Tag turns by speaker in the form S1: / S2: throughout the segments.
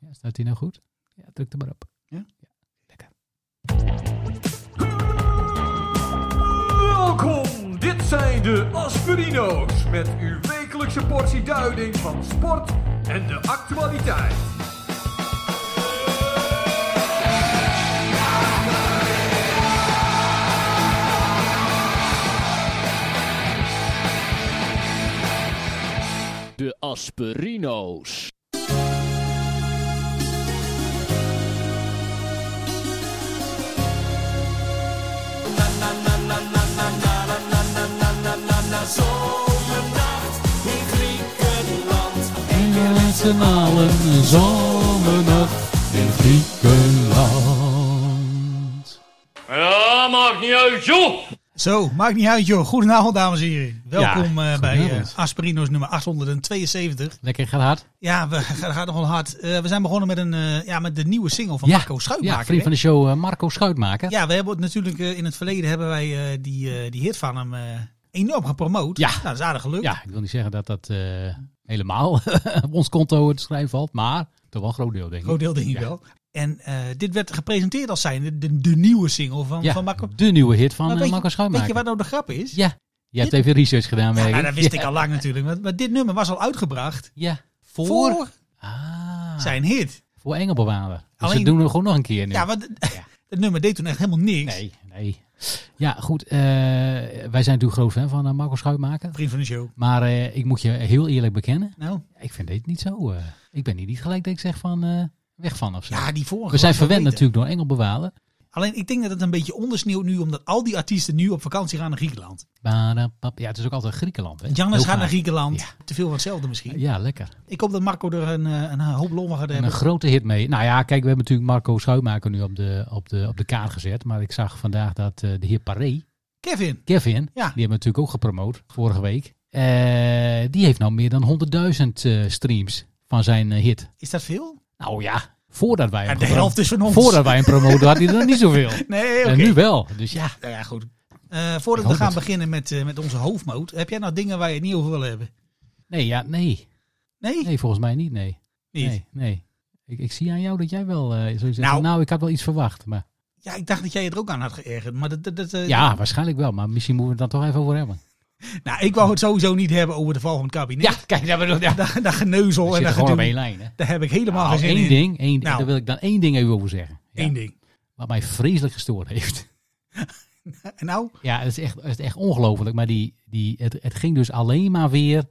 S1: Ja, staat die nou goed? Ja, druk er maar op.
S2: Ja?
S1: Lekker.
S3: Welkom, dit zijn de Aspirino's met uw wekelijkse portie duiding van sport en de actualiteit.
S4: De Asperino's.
S1: En je met z'n allen een zomernacht in Griekenland.
S4: Ja, maakt niet uit, joh!
S2: Zo, maakt niet uit joh. Goedenavond dames en heren. Welkom eh, bij
S1: goedenavond.
S2: eh, Aspirino's nummer 872.
S1: Lekker, gaat hard.
S2: Ja, we gaan gaan nogal hard. Eh, we zijn begonnen met, een, eh, ja, met de nieuwe single van Marco Schuitmaker.
S1: Ja, vriend
S2: hè?
S1: van de show eh, Marco Schuitmaker.
S2: Ja, we hebben het natuurlijk eh, in het verleden hebben wij eh, die, eh, die hit van hem eh, enorm gepromoot.
S1: Ja.
S2: Nou, dat is aardig gelukt.
S1: Ja, ik wil niet zeggen dat dat eh, helemaal op ons konto het schrijven valt, maar toch wel een groot deel, denk ik.
S2: Groot deel denk ik
S1: Ja.
S2: wel. En eh, dit werd gepresenteerd als zijnde de, de nieuwe single van,
S1: Ja,
S2: van Marco.
S1: de nieuwe hit van
S2: Maar
S1: eh,
S2: weet je-
S1: Marco Schuitmaker.
S2: Weet je wat nou de grap is?
S1: Ja, je hebt even research gedaan,
S2: Ja,
S1: weet
S2: nou,
S1: ik.
S2: dat wist
S1: ja.
S2: ik al lang natuurlijk. Maar, maar dit nummer was al uitgebracht
S1: Ja, voor,
S2: voor,
S1: Ah,
S2: zijn hit.
S1: voor Engelbewaarder. Dus
S2: Alleen-
S1: dat doen we gewoon nog een keer nu.
S2: Ja, want het nummer deed toen echt helemaal niks.
S1: Nee, nee. Ja, goed. eh, wij zijn natuurlijk groot fan van eh, Marco Schuitmaker.
S2: Vriend van de show.
S1: Maar eh, ik moet je heel eerlijk bekennen.
S2: Nou,
S1: Ik vind dit niet zo. eh, ik ben hier niet gelijk dat ik zeg van eh, weg van of zo.
S2: ja, die vorige.
S1: we zijn
S2: was wel
S1: verwend
S2: beter.
S1: natuurlijk door Engelbewalen.
S2: Alleen ik denk dat het een beetje ondersneeuwt nu, omdat al die artiesten nu op vakantie gaan naar Griekenland.
S1: Badapap. Ja, het is ook altijd Griekenland. Hè?
S2: Jannes
S1: Heel
S2: gaat naar
S1: vaak.
S2: Griekenland.
S1: Ja.
S2: Te veel van hetzelfde misschien.
S1: Ja, lekker.
S2: Ik hoop dat Marco er een, eh, een hoop lol van gaat
S1: En een
S2: hebben.
S1: grote hit mee. Nou ja, kijk, we hebben natuurlijk Marco Schuitmaker nu op de, op de, op de kaart gezet. Maar ik zag vandaag dat eh, de heer Paré,
S2: Kevin.
S1: Kevin, die
S2: Ja.
S1: hebben we natuurlijk ook gepromoot vorige week. Eh, die heeft nou meer dan 100.000 eh, streams van zijn eh, hit.
S2: Is dat veel?
S1: Nou ja, voordat wij
S2: Ja,
S1: hem,
S2: de
S1: geprom-
S2: helft is van ons.
S1: voordat wij hem promoten had hij er nog niet zoveel.
S2: Nee, oké.
S1: En nu wel. Dus ja,
S2: Nou ja, goed. Eh, voordat
S1: Ik
S2: we
S1: hoop
S2: gaan
S1: het.
S2: beginnen met, eh, met onze hoofdmoot, heb jij nou dingen waar je het niet over wil hebben?
S1: nee, ja, nee.
S2: Nee?
S1: Nee, volgens mij niet, nee.
S2: Niet?
S1: Nee, nee. Ik, ik zie aan jou dat jij wel eh zo zegt.
S2: Nou.
S1: Nou, nou, ik had wel iets verwacht. Maar,
S2: Ja, ik dacht dat jij je er ook aan had geërgerd. Maar dat, dat, dat, eh,
S1: ja, waarschijnlijk wel. Maar misschien moeten we het dan toch even over hebben.
S2: Nou, ik wou het sowieso niet hebben over de val van het kabinet.
S1: Ja, kijk, daar bedoel ja.
S2: Dat, dat geneuzel
S1: We
S2: en
S1: zitten
S2: dat
S1: gewoon op
S2: gedoe.
S1: één lijn, hè.
S2: Daar heb ik helemaal
S1: Nou,
S2: geen zin
S1: één
S2: in.
S1: ding, één,
S2: Nou.
S1: daar wil ik dan één ding even over zeggen. Ja.
S2: Eén ding.
S1: Wat mij vreselijk gestoord heeft.
S2: En nou,
S1: Ja, het is echt, het is echt ongelooflijk. Maar die, die, het, het ging dus alleen maar weer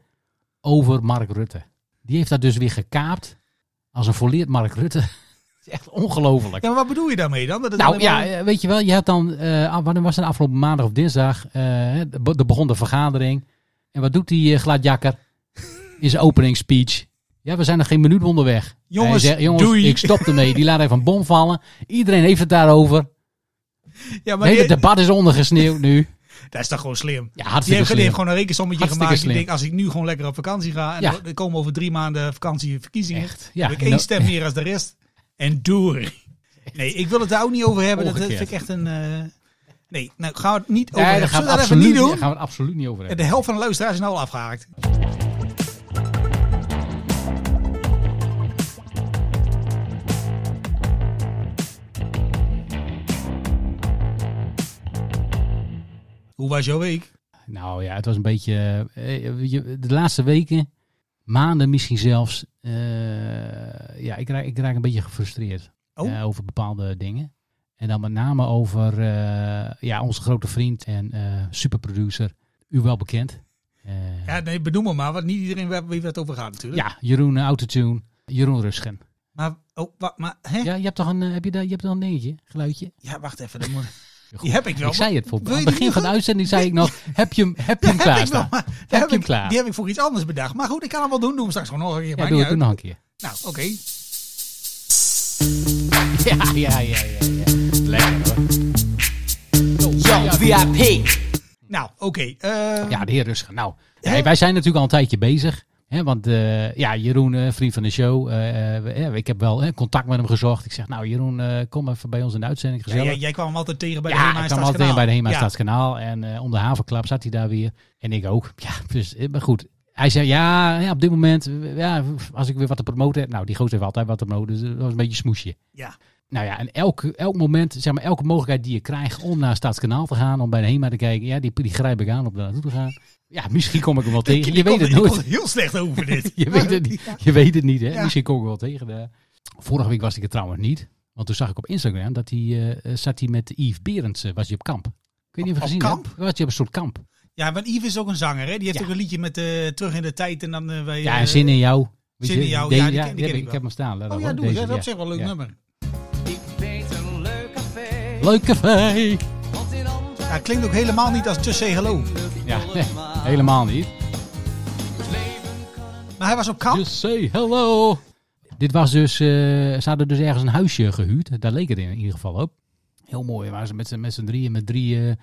S1: over Mark Rutte. Die heeft dat dus weer gekaapt als een volleerd Mark Rutte. Het is echt ongelooflijk.
S2: ja, maar wat bedoel je daarmee dan? Dat het
S1: Nou
S2: alleen maar-
S1: ja, eh, weet je wel, je had dan, eh, ah, wanneer was het afgelopen maandag of dinsdag, eh, er be- er begon de vergadering. En wat doet die eh, gladjakker in zijn openingsspeech? Ja, we zijn nog geen minuut onderweg.
S2: Jongens,
S1: Hij jongens
S2: doei.
S1: ik stop ermee. Die laat even een bom vallen. Iedereen heeft het daarover.
S2: ja,
S1: Het
S2: maar
S1: hele
S2: die-
S1: debat is ondergesneeuwd nu.
S2: dat is toch gewoon slim?
S1: Ja,
S2: Die
S1: hartstikke
S2: heeft, die
S1: slim.
S2: heeft gewoon een rekensommetje
S1: Hartstikke
S2: gemaakt. Die
S1: slim.
S2: denkt, als ik nu gewoon lekker op vakantie ga... en
S1: Ja.
S2: er komen over drie maanden vakantie verkiezingen...
S1: Echt, ja.
S2: heb ik
S1: En
S2: één
S1: dan-
S2: stem meer als de rest. En door. Nee, ik wil het daar ook niet over hebben. Dat, dat vind
S1: Omgekeerd.
S2: ik echt een... eh, Nee, nou gaan we het niet over
S1: Ja, daar
S2: hebben.
S1: gaan we,
S2: Zullen we dat even
S1: absoluut,
S2: niet
S1: daar
S2: doen?
S1: gaan we het absoluut niet over hebben.
S2: De helft van de luisteraars is nou al afgehaakt. Hoe was jouw week?
S1: Nou ja, het was een beetje. eh, je- De laatste weken, maanden misschien zelfs. eh, ja, ik raak, ik raak een beetje gefrustreerd
S2: Oh.
S1: eh, over bepaalde dingen. En dan met name over eh, ja, onze grote vriend en eh, superproducer, u wel bekend. Eh,
S2: Ja, nee, benoem hem maar, want niet iedereen weet wie het over gaat natuurlijk.
S1: ja, Jeroen eh, Autotune, Jeroen Rusgen.
S2: Maar, oh, wa- maar hè? Ja.
S1: Ja, je hebt toch een, eh, heb je daar, je hebt toch een dingetje, geluidje?
S2: wacht even. Dat moet...
S1: Goed.
S2: Die heb ik wel.
S1: Ik zei het voor,
S2: Wil
S1: aan
S2: je
S1: het
S2: die
S1: begin
S2: niet
S1: van de
S2: goed?
S1: uitzending zei ik nog, heb je hem, heb je
S2: Die
S1: hem
S2: heb ik wel,
S1: klaarstaan?
S2: maar die
S1: je
S2: heb
S1: hem
S2: ik-
S1: klaar?
S2: Die heb ik voor iets anders bedacht. Maar goed, ik kan hem wel doen. Doe hem straks gewoon nog een keer.
S1: Ja,
S2: maakt
S1: doe
S2: niet
S1: het doe nog een keer.
S2: uit. Nou, oké.
S1: Ja, ja, ja, ja. ja. Lekker hoor.
S5: Yo, VIP.
S2: Nou, oké. eh,
S1: Ja, de heer Rusgen. Nou, nee, wij zijn natuurlijk al een tijdje bezig. Hè, want eh, ja, Jeroen, eh, vriend van de show. eh, eh, we- eh, ik heb wel eh, contact met hem gezocht. Ik zeg, nou Jeroen, eh, kom even bij ons in de uitzending.
S2: Ja,
S1: Gezellig.
S2: jij, jij kwam hem altijd tegen bij de
S1: Ja,
S2: Hema
S1: ik
S2: en
S1: kwam altijd bij de Hema
S2: Stadskanaal.
S1: Staatskanaal. En eh, om de havenklap zat hij daar weer. En ik ook. Ja, dus, eh, maar goed. hij zei, ja, ja, op dit moment, eh, ja, als ik weer wat te promoten heb. Nou, die gozer heeft altijd wat te promoten, dus dat was een beetje smoesje.
S2: Ja.
S1: Nou ja, en elk, elk moment, zeg maar, elke mogelijkheid die je krijgt om naar Staatskanaal te gaan, om bij de HEMA te kijken, ja, die, die grijp ik aan om daar naartoe te gaan. Ja, misschien kom ik hem wel tegen. Je
S2: Ik
S1: weet
S2: kon-
S1: het
S2: ik kon
S1: nooit.
S2: heel slecht over dit.
S1: Je weet het niet, je weet het niet hè?
S2: Ja.
S1: Misschien kom ik er wel tegen. daar. Vorige week was ik er trouwens niet. Want toen zag ik op Instagram dat hij eh, zat hij met Yves Berends eh, was hij op kamp. Ik weet niet of je
S2: Op-
S1: gezien
S2: op
S1: hebt. Was hij op een soort kamp.
S2: Ja, want Yves is ook een zanger, hè? Die heeft
S1: Ja.
S2: ook een liedje met eh, Terug in de Tijd en dan eh, wij...
S1: Ja,
S2: eh,
S1: en Zin in jou. Weet
S2: Zin in
S1: je,
S2: jou,
S1: die-
S2: ja, die ken- die
S1: heb
S2: ken
S1: ik,
S2: ik
S1: ik heb hem staan. Laat
S2: Oh
S1: dat
S2: ja,
S1: hoor,
S2: doe. eens,
S1: deze,
S2: hè. Dat is
S1: ja.
S2: op zich wel een leuk
S1: Ja.
S2: nummer.
S6: Ik weet een leuk café,
S1: Leuk café.
S6: want in Antwerpen
S2: Ja, het klinkt ook helemaal niet als Just Say Hello.
S1: Ja, nee, helemaal niet.
S2: Maar hij was op kamp.
S1: Just say hello. Dit was dus, eh ze hadden dus ergens een huisje gehuurd. Daar leek het in, ieder geval op. Heel mooi, waren ze met z'n- met z'n drieën, met drie eh,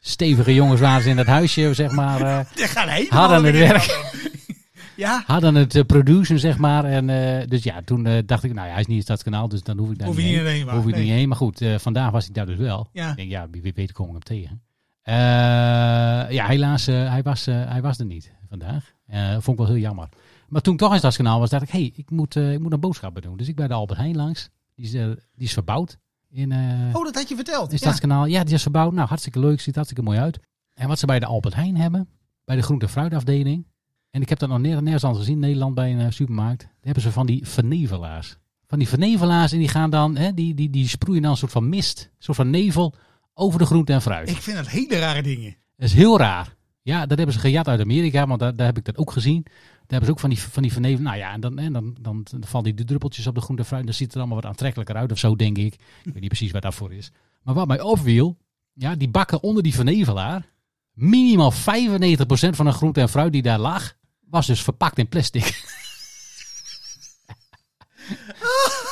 S1: stevige jongens waren ze in dat huisje, zeg maar. eh,
S2: Daar gaan helemaal
S1: hadden het
S2: weer in.
S1: werk.
S2: Ja,
S1: Hadden het eh, producen, zeg maar. En, eh, dus ja, toen eh, dacht ik, nou ja, hij is niet in Stadskanaal, dus dan hoef ik daar
S2: Hoef
S1: niet
S2: je
S1: heen.
S2: niet heen, maar
S1: hoef ik
S2: nee.
S1: niet heen. Maar goed, eh, vandaag was ik daar dus wel.
S2: Ja.
S1: Ik denk, ja, wie wie weet kom ik hem tegen. Eh, ja, helaas, eh, hij, was, eh, hij was er niet vandaag. Eh, vond ik wel heel jammer. Maar toen ik toch in Stadskanaal was, dacht ik, hé, hey, ik, moet, eh ik moet een boodschappen doen. Dus ik ben de Albert Heijn langs. Die is, eh, die is verbouwd in, eh,
S2: oh, dat had je verteld.
S1: in
S2: Ja.
S1: Stadskanaal. Ja. die is verbouwd. Nou, hartstikke leuk. Ziet er hartstikke mooi uit. En wat ze bij de Albert Heijn hebben, bij de groente- en fruitafdeling. En ik heb dat nog nerg- nergens anders gezien in Nederland bij een eh, supermarkt. Daar hebben ze van die vernevelaars. Van die vernevelaars en die gaan dan, hè, die, die, die sproeien dan een soort van mist, een soort van nevel over de groente en fruit.
S2: Ik vind dat hele rare dingen.
S1: Dat is heel raar. Ja, dat hebben ze gejat uit Amerika, want daar, daar heb ik dat ook gezien. Daar hebben ze ook van die, van die verneven. Nou ja, en dan, en dan, dan, dan vallen die druppeltjes op de groente en fruit. Dan ziet het er allemaal wat aantrekkelijker uit of zo, denk ik. Ik weet niet precies wat daarvoor is. Maar wat mij opviel, ja, die bakken onder die vernevelaar. Minimaal 95% van de groente en fruit die daar lag, was dus verpakt in plastic.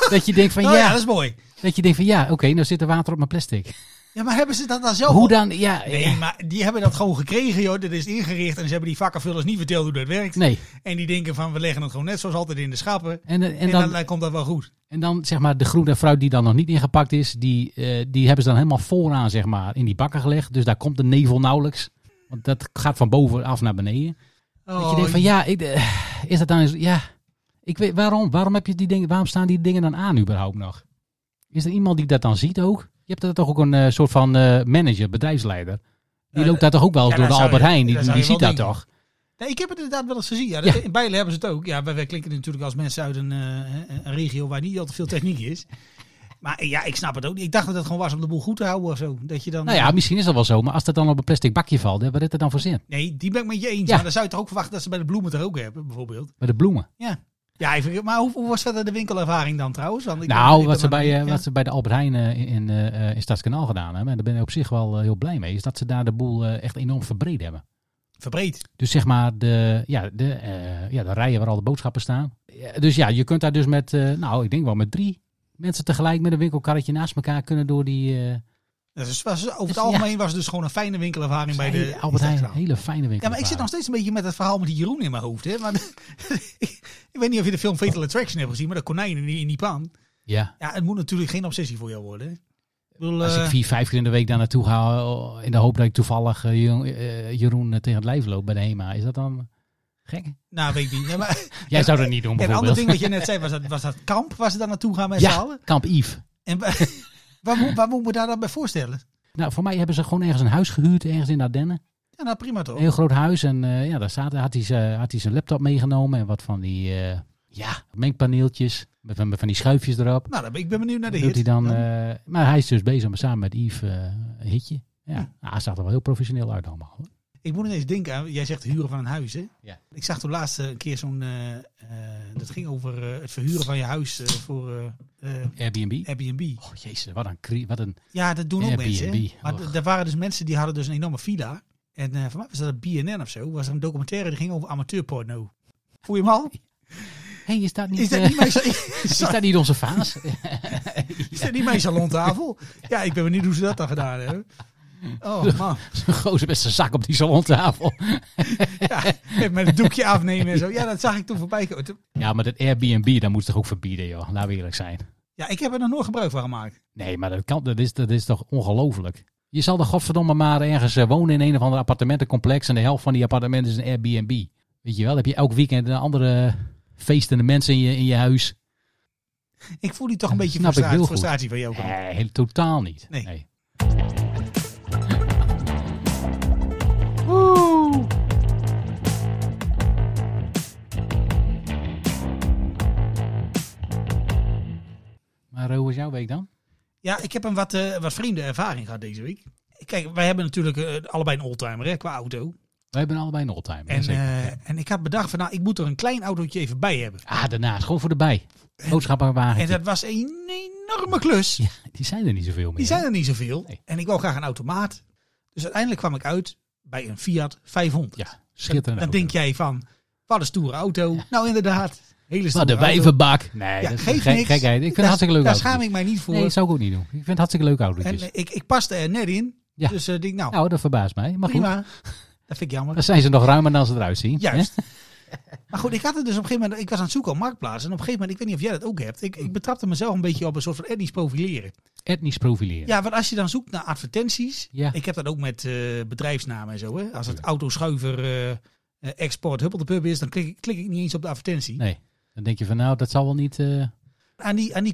S1: dat je denkt van
S2: Oh, ja,
S1: ja,
S2: dat is mooi.
S1: dat je denkt van ja, oké, nou zit er water op mijn plastic.
S2: Ja, maar hebben ze dat dan zelf?
S1: Hoe
S2: al?
S1: dan? Ja,
S2: Oh. Nee, maar die hebben dat gewoon gekregen, joh. Dat is ingericht en ze hebben die vakkenvullers niet verteld hoe dat werkt.
S1: nee.
S2: En die denken van, we leggen het gewoon net zoals altijd in de schappen. En,
S1: En, en,
S2: dan,
S1: dan,
S2: dan komt dat wel goed.
S1: En dan zeg maar de groente en fruit die dan nog niet ingepakt is, die, eh, die hebben ze dan helemaal vooraan zeg maar in die bakken gelegd. Dus daar komt de nevel nauwelijks. Want dat gaat van boven af naar beneden. dat
S2: Oh,
S1: je denkt van ja, ik, eh, is dat dan eens, ja, ik weet waarom, waarom heb je die dingen, waarom staan die dingen dan aan überhaupt nog? Is er iemand die dat dan ziet ook? Je hebt daar toch ook een eh, soort van eh, manager, bedrijfsleider. Die
S2: Eh,
S1: loopt daar toch ook wel
S2: ja,
S1: door de
S2: dat zou
S1: Albert
S2: je-
S1: Heijn. Die,
S2: dat zou
S1: die
S2: je
S1: ziet
S2: wel
S1: dat
S2: denken.
S1: toch?
S2: Nee, ik heb het inderdaad wel eens gezien. Ja,
S1: Ja.
S2: dat- In Bijlen hebben ze het ook. Ja, wij, wij klinken natuurlijk als mensen uit een, eh, een regio waar niet al te veel techniek is. Maar eh, ja, ik snap het ook niet. Ik dacht dat het gewoon was om de boel goed te houden of zo. Dat je dan,
S1: Nou ja, misschien is dat wel zo. Maar als dat dan op een plastic bakje valt, hè, wat is dat dan voor zin?
S2: Nee, die ben ik met je eens.
S1: Ja.
S2: Maar dan zou je toch ook verwachten dat ze bij de bloemen het er ook hebben, bijvoorbeeld.
S1: Bij de bloemen.
S2: Ja. Ja, even, maar hoe, hoe was verder de winkelervaring dan trouwens? Want ik
S1: Nou,
S2: ik
S1: wat ze,
S2: ben-
S1: bij, eh,
S2: ja.
S1: wat ze bij de Albert Heijn eh, in, in, eh, eh, in Stadskanaal gedaan hebben, en daar ben ik op zich wel eh, heel blij mee, is dat ze daar de boel eh, echt enorm verbreed hebben.
S2: Verbreed.
S1: Dus zeg maar de, ja, de, eh, ja, de rijen waar al de boodschappen staan. Ja, Dus ja, je kunt daar dus met, eh, nou ik denk wel met drie mensen tegelijk met een winkelkarretje naast elkaar kunnen door die eh,
S2: Dat is- was, over het
S1: Dus ja.
S2: algemeen was het dus gewoon een fijne winkelervaring bij de...
S1: hele- Albert Heijn.
S2: Ja,
S1: Hele fijne winkel.
S2: maar ik zit nog steeds een beetje met het verhaal met die Jeroen in mijn hoofd. Hè? Maar, ik weet niet of je de film Fatal Attraction hebt gezien, maar dat konijn in die, in die pan.
S1: Ja.
S2: Ja, het moet natuurlijk geen obsessie voor jou worden. hè. Ik bedoel,
S1: Als ik
S2: eh,
S1: vier, vijf keer in de week daar naartoe ga, oh, in de hoop dat ik toevallig eh, Jeroen- eh, Jeroen eh, tegen het lijf loop bij de HEMA, is dat dan gek?
S2: Nou, weet ik niet. Ja, maar,
S1: Jij zou dat niet doen
S2: en een ander
S1: bijvoorbeeld.
S2: ding wat je net zei, was dat, was dat kamp waar ze dan naartoe gaan met z'n
S1: ja,
S2: allen?
S1: Kamp Yves.
S2: En waar, waar, moet- waar moet me daar dan bij voorstellen?
S1: Nou, voor mij hebben ze gewoon ergens een huis gehuurd, ergens in Ardennen.
S2: Ja, nou prima toch?
S1: Een heel groot huis. En eh, ja, daar zaten, had, hij, z'n- had hij zijn laptop meegenomen en wat van die eh, ja, mengpaneeltjes. Met, van- met van die schuifjes erop.
S2: Nou, dan ben ik ben benieuwd naar de
S1: Doet hij
S2: hit.
S1: dan, eh, maar hij is dus bezig met, samen met Yves eh, een hitje. Ja,
S2: Hm.
S1: nou, hij zag er wel heel professioneel uit allemaal. hoor.
S2: Ik moet ineens denken aan, jij zegt huren van een huis, hè?
S1: Ja.
S2: Ik zag toen laatst eh, een keer zo'n, eh, eh, dat ging over eh, het verhuren van je huis eh, voor eh, eh,
S1: Airbnb.
S2: Airbnb.
S1: Oh jezus, wat een... cri- Wat een
S2: Ja, dat doen ook
S1: Airbnb,
S2: mensen, hè? Maar
S1: och.
S2: d- er waren dus mensen die hadden dus een enorme villa. En eh van mij was dat een BNN of zo, was er een documentaire die ging over amateurporno. Voel je hem al?
S1: hey, is dat niet,
S2: Is dat
S1: eh,
S2: niet mijn,
S1: is dat niet onze vaas?
S2: is dat niet mijn salontafel? Ja, ik ben benieuwd hoe ze dat dan gedaan hebben. Oh man,
S1: Zo'n gozer met zijn zak op die salontafel.
S2: ja, met een doekje afnemen en zo. Ja, dat zag ik toen voorbij komen. Toen-
S1: Ja, maar dat Airbnb, dat moet ze toch ook verbieden, joh. Laten we eerlijk zijn.
S2: Ja, ik heb er nog nooit gebruik van gemaakt.
S1: Nee, maar dat, kan, dat, is, dat is toch ongelooflijk? Je zal de godverdomme maar ergens eh, wonen in een of ander appartementencomplex en de helft van die appartementen is een Airbnb. Weet je wel, heb je elk weekend een andere feestende mensen in je, in je huis.
S2: Ik voel die toch
S1: Ja,
S2: een
S1: dat
S2: beetje
S1: snap ik heel
S2: frustratie,
S1: goed.
S2: frustratie van jou.
S1: Nee, heel- totaal niet.
S2: Nee.
S1: Maar eh, hoe was jouw week dan?
S2: Ja, ik heb een wat, eh, wat vreemde ervaring gehad deze week. Kijk, wij hebben natuurlijk eh, allebei een oldtimer hè, qua auto.
S1: We hebben allebei een all-time.
S2: En, eh, en ik had bedacht van nou, ik moet er een klein autootje even bij hebben.
S1: ah, daarnaast. Gewoon voor de bij.
S2: En
S1: Boodschappenwagen.
S2: dat was een enorme klus.
S1: Ja, die zijn er niet zoveel meer.
S2: Die zijn er niet zoveel.
S1: Nee.
S2: En ik wou graag een automaat. Dus uiteindelijk kwam ik uit bij een Fiat 500.
S1: Ja, schitterend.
S2: Dan denk jij van, wat een stoere auto. Nou inderdaad, hele stoere
S1: Wat de
S2: auto.
S1: wijvenbak. Nee,
S2: Ja,
S1: dat is
S2: geeft
S1: gek-
S2: niks.
S1: gekheid. Ik vind het
S2: Daar-
S1: hartstikke leuk
S2: Daar
S1: autootjes.
S2: schaam ik mij niet voor.
S1: Nee, dat zou ik ook niet doen. Ik vind het hartstikke leuk
S2: en
S1: autootjes.
S2: eh, ik, ik paste er net in.
S1: Ja.
S2: Dus eh, ik denk, nou,
S1: nou, dat verbaast mij. Maar goed,
S2: prima. Dat vind ik jammer.
S1: dan zijn ze nog ruimer dan ze eruit zien.
S2: Juist. Maar goed, ik had het dus op een gegeven moment, ik was aan het zoeken op Marktplaats. En op een gegeven moment, ik weet niet of jij dat ook hebt, ik, ik betrapte mezelf een beetje op een soort van etnisch profileren.
S1: Hè? Etnisch profileren.
S2: Ja, want als je dan zoekt naar advertenties,
S1: Ja.
S2: ik heb dat ook met eh, bedrijfsnamen en zo. Hè? Als het autoschuiver eh, eh, export huppel de pub is, dan klik, ik- klik ik niet eens op de advertentie.
S1: Nee. Dan denk je van, nou, dat zal wel niet... eh,
S2: Aan die, aan die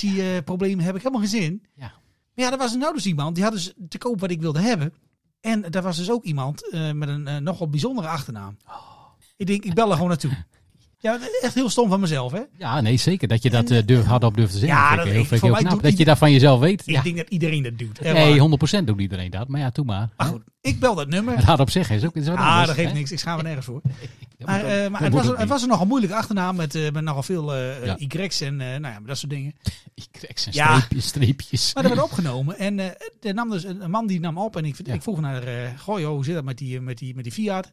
S2: communicatieproblemen heb ik helemaal geen zin.
S1: Ja.
S2: Maar ja, er was nou dus iemand, die had dus te koop wat ik wilde hebben. En daar was dus ook iemand eh, met een eh, nogal bijzondere achternaam.
S1: Oh.
S2: Ik denk, ik bel er gewoon naartoe. Ja, echt heel stom van mezelf, hè?
S1: Ja, nee, zeker. Dat je dat eh, durf, hard op durft te zeggen.
S2: Ja,
S1: Ja, dat
S2: dat-
S1: vind ik heel,
S2: ik-
S1: vind ik
S2: voor
S1: heel
S2: mij
S1: knap.
S2: doet
S1: Dat je dat van jezelf weet.
S2: Ik
S1: Ja.
S2: denk dat iedereen dat doet. Hè, maar-
S1: Nee, 100% doet iedereen dat. Maar ja, doe maar.
S2: maar goed, ik bel dat nummer.
S1: Het hard op zeggen is ook is wat
S2: Ah,
S1: anders,
S2: dat geeft
S1: dus, hè?
S2: niks. Ik schaam me nergens voor.
S1: Dat
S2: Maar,
S1: moet
S2: eh,
S1: ook-
S2: maar
S1: dat
S2: het,
S1: moet
S2: was,
S1: ook
S2: het was een nogal moeilijke achternaam met, eh, met nogal veel eh,
S1: Ja.
S2: Y's en eh, nou ja, dat soort dingen.
S1: niet. Y's en
S2: Ja.
S1: streepjes, streepjes.
S2: Maar dat werd opgenomen. En eh, er nam dus een, een man die nam op en ik,
S1: Ja.
S2: ik vroeg naar, eh goh joh, hoe zit dat met die, eh, met die, met die Fiat?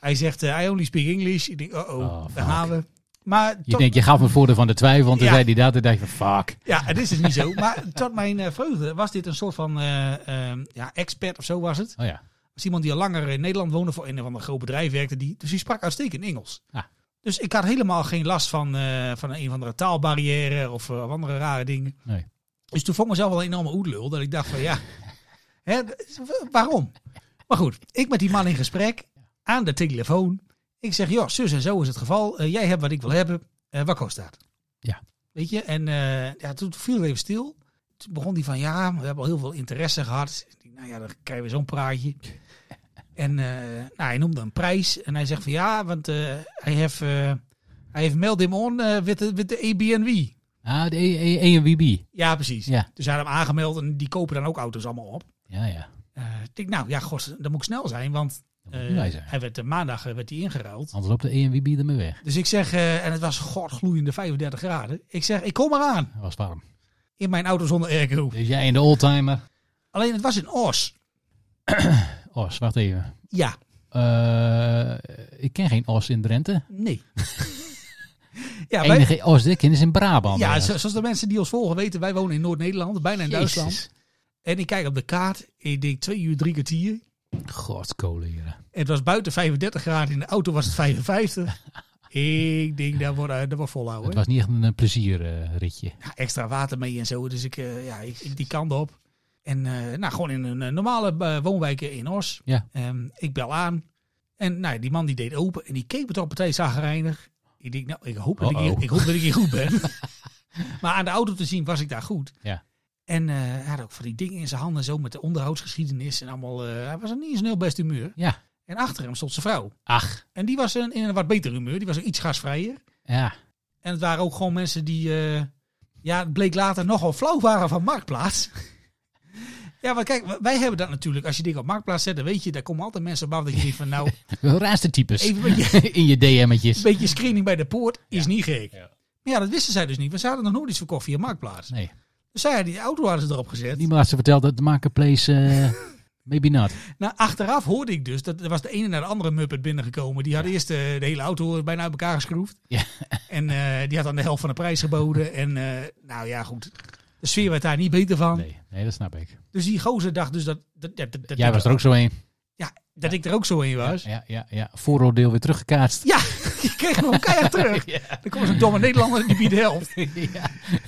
S2: Hij zegt, eh, I only speak English. Ik denk, oh,
S1: Oh,
S2: oh
S1: fuck.
S2: daar gaan we. Maar
S1: Je
S2: tot-
S1: denkt, je gaf me het voordeel van de twijfel. Want toen
S2: Ja.
S1: zei hij dat. En dacht je van, fuck.
S2: ja, het is dus niet zo. Maar tot mijn eh, vreugde was dit een soort van eh, eh, ja, expert of zo was het.
S1: Oh ja.
S2: was iemand die al langer in Nederland woonde voor een of ander groot bedrijf werkte. Die, dus die sprak uitstekend Engels.
S1: Ja.
S2: Dus ik had helemaal geen last van, eh, van een of andere taalbarrière of eh, andere rare dingen.
S1: Nee.
S2: Dus toen vond ik mezelf wel een enorme oedlul. Dat ik dacht van ja, hè, d- waarom? Maar goed, ik met die man in gesprek aan de telefoon. Ik zeg, joh, zus en zo is het geval. Eh, jij hebt wat ik wil hebben. Eh, wat kost dat?
S1: Ja.
S2: Weet je, en eh, ja, toen viel het even stil. Toen begon hij van, ja, we hebben al heel veel interesse gehad. Ik denk, Nou ja, dan krijgen we zo'n praatje. En eh, nou, hij noemde een prijs. En hij zegt van, ja, want eh, hij heeft... eh, hij heeft mailed him on eh with, the- with the ABNW.
S1: Ah, de E- E- EMWB.
S2: Ja, precies.
S1: Ja.
S2: Dus hij had hem aangemeld en die kopen dan ook auto's allemaal op.
S1: Ja, ja.
S2: Eh, ik denk, nou ja, god, dan moet ik snel zijn, want
S1: Dat moet
S2: eh,
S1: nu wij zijn.
S2: hij werd, eh, maandag eh, werd hij ingeruild.
S1: Anders loopt de E EMWB ermee weg.
S2: Dus ik zeg, eh, en het was godgloeiende 35 graden. Ik zeg, ik kom eraan
S1: Dat was warm.
S2: in mijn auto zonder airco.
S1: Dus jij in de oldtimer.
S2: Alleen het was in Os.
S1: Os, wacht even.
S2: Ja,
S1: Eh, ik ken geen Os in Drenthe.
S2: nee. ja,
S1: Het
S2: wij-
S1: enige Os die ik ken is in Brabant.
S2: ja
S1: ergens.
S2: zo- zoals de mensen die ons volgen weten, wij wonen in Noord-Nederland, bijna in
S1: Jezus.
S2: Duitsland. En ik kijk op de kaart, ik denk twee uur, drie kwartier.
S1: Godskolen hier.
S2: Het was buiten 35 graden, in de auto was het 55. ik denk, dat wordt, eh, dat wordt volhouden.
S1: Het was niet echt een eh, plezierritje.
S2: ja, extra water mee en zo. Dus ik, eh, ja, ik, ik die kant op. En eh, nou, gewoon in een eh, normale eh, woonwijk in Os.
S1: Ja.
S2: Ehm, ik bel aan. En nou, die man die deed open en die keek me toch partij zagrijnig. Ik denk, nou, ik hoop, dat ik,
S1: Uh-oh.
S2: hier, ik hoop dat ik hier goed ben. maar aan de auto te zien was ik daar goed.
S1: Ja.
S2: En eh, hij had ook van die dingen in zijn handen, zo met de onderhoudsgeschiedenis en allemaal. eh, hij was er niet eens een heel best humeur.
S1: Ja.
S2: En achter hem stond zijn vrouw.
S1: Ach,
S2: En die was een, in een wat beter humeur, die was ook iets gasvrijer.
S1: ja.
S2: En het waren ook gewoon mensen die, eh, ja, het bleek later nogal flauw waren van Marktplaats. ja, maar kijk, wij hebben dat natuurlijk. Als je dingen op Marktplaats zet, dan weet je, daar komen altijd mensen op af dat je denkt van, nou,
S1: Raarste types.
S2: even een beetje,
S1: In je DM'tjes.
S2: een beetje screening bij de poort is niet gek. Maar ja, dat wisten zij dus niet. We zaten nog nooit iets verkocht via Marktplaats.
S1: Nee.
S2: Dus zij hadden die auto hadden ze erop gezet.
S1: Niemand had ze verteld dat de marketplace... eh, maybe not.
S2: Nou, achteraf hoorde ik dus dat er was de ene naar de andere Muppet binnengekomen. Die had eerst eh, de hele auto bijna uit elkaar geschroefd.
S1: Ja.
S2: En eh, die had dan de helft van de prijs geboden. En eh, nou ja, goed. De sfeer werd daar niet beter van.
S1: Nee, nee, dat snap ik.
S2: Dus die gozer dacht dus dat, dat, dat, dat,
S1: Jij
S2: dat-
S1: was er ook zo een.
S2: Ja, dat ik er ook zo in was. Ja,
S1: Ja, ja, ja. Vooroordeel weer teruggekaatst.
S2: je kreeg me keihard terug. Dan komt zo'n domme Nederlander en die biedt de helft.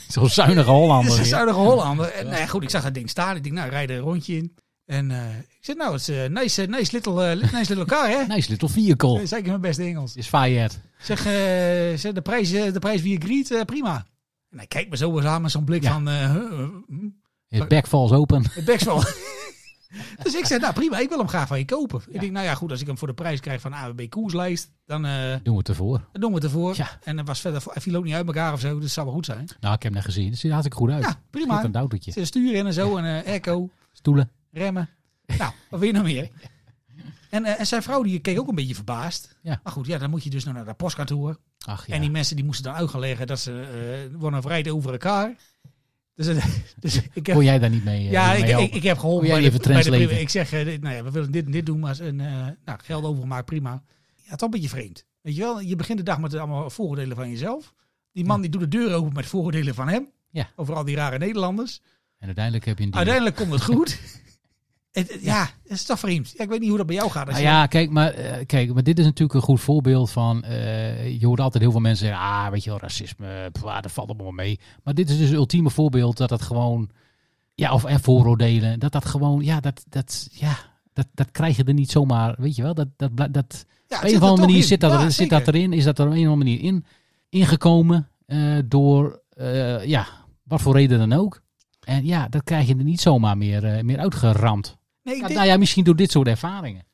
S1: Zo'n zuinige
S2: Dat is
S1: Hollander.
S2: een
S1: weer.
S2: zuinige Hollander. En, nou ja, goed, ik zag dat ding staan. Ik denk, nou, rijd er een rondje in. En eh, ik zeg, nou, het is eh, nice, eh, nice, little, eh, nice little car, hè?
S1: Nice little vehicle.
S2: Zeg ik in mijn beste Engels.
S1: Is fired.
S2: Zeg, eh, zeg, de, prijs, eh, de prijs wie je greet, eh, prima. En hij kijkt me zo eens aan met zo'n blik
S1: Ja.
S2: van, eh, huh, huh, hm,
S1: His back falls open.
S2: het best wel. dus ik zeg, nou prima, ik wil hem graag van je kopen. Ik denk, nou ja, goed, als ik hem voor de prijs krijg van AWB Koerslijst, dan eh,
S1: Doen we het ervoor.
S2: dan doen we het ervoor.
S1: Ja.
S2: En hij was verder, hij viel ook niet uit elkaar of zo, dus het zou wel goed zijn.
S1: Nou, ik heb hem net gezien. Het ziet er hartstikke goed uit.
S2: Ja, prima.
S1: Een
S2: Er
S1: autootje.
S2: zitten sturen in en zo, en eh airco,
S1: Stoelen.
S2: remmen. Nou, wat wil je nog meer? En, eh, en zijn vrouw die keek ook een beetje verbaasd.
S1: Ja.
S2: Maar goed, ja, dan moet je dus nog naar de postkantoor.
S1: Ach ja.
S2: En die mensen die moesten dan uitleggen dat ze eh worden verrijd over elkaar. Dus, eh, dus ik heb,
S1: Kon jij daar niet mee? eh,
S2: ja,
S1: mee
S2: ik, ik,
S1: helpen?
S2: ik heb geholpen.
S1: Wil jij
S2: bij
S1: die
S2: de-
S1: even
S2: bij de
S1: translaten?
S2: privé. Ik zeg, eh, dit- nou ja, we willen dit en dit doen, maar een, eh, nou, geld overmaakt, prima. Ja, het is een beetje vreemd. Weet je wel, je begint de dag met allemaal vooroordelen van jezelf. Die man die doet de deur open met vooroordelen van hem.
S1: Ja.
S2: Over al die rare Nederlanders.
S1: En uiteindelijk heb je een deal.
S2: Uiteindelijk komt het goed. het, het- ja, het is toch vreemd. Ja, ik weet niet hoe dat bij jou gaat. als
S1: Nou
S2: je-
S1: ja, kijk maar, eh, kijk, maar dit is natuurlijk een goed voorbeeld van. eh, je hoort altijd heel veel mensen zeggen: ah, weet je wel, racisme, pff, ah, dat valt allemaal mee. Maar dit is dus een ultieme voorbeeld dat dat gewoon. Ja, of en vooroordelen, dat dat gewoon. Ja, dat, dat, ja, dat, dat krijg je er niet zomaar. Weet je wel, dat, dat, bla- dat,
S2: Ja, het
S1: op een
S2: zit
S1: of
S2: er
S1: andere
S2: toch
S1: manier
S2: in.
S1: zit dat,
S2: Ja,
S1: er, zit
S2: zeker.
S1: dat erin, is dat er op een of andere manier in, ingekomen eh, door, eh, ja, wat voor reden dan ook. En ja, dat krijg je er niet zomaar meer, eh, meer uitgeramd.
S2: Nee, ik
S1: Ja,
S2: denk-
S1: nou ja, misschien door dit soort ervaringen.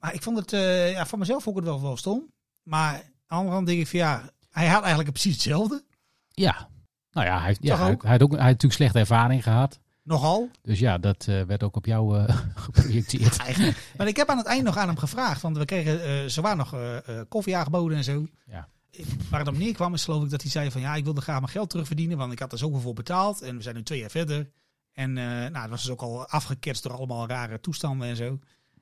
S2: Maar ik vond het, eh, ja, voor mezelf vond ik het wel, wel stom. Maar aan de andere kant denk ik van ja, hij had eigenlijk precies hetzelfde.
S1: Ja, nou ja, hij, heeft- ja,
S2: Toch
S1: hij, hij
S2: ook?
S1: had, ook, hij had natuurlijk slechte ervaring gehad.
S2: Nogal.
S1: Dus ja, dat eh, werd ook op jou eh, geprojecteerd.
S2: Eigenlijk. Maar ik heb aan het eind nog aan hem gevraagd. Want we kregen, eh ze waren nog eh, eh, koffie aangeboden en zo.
S1: Ja.
S2: Waar het om neerkwam is geloof ik dat hij zei van ja, ik wilde graag mijn geld terugverdienen. Want ik had er zoveel voor betaald. En we zijn nu twee jaar verder. En eh, nou, het was dus ook al afgeketst door allemaal rare toestanden en zo.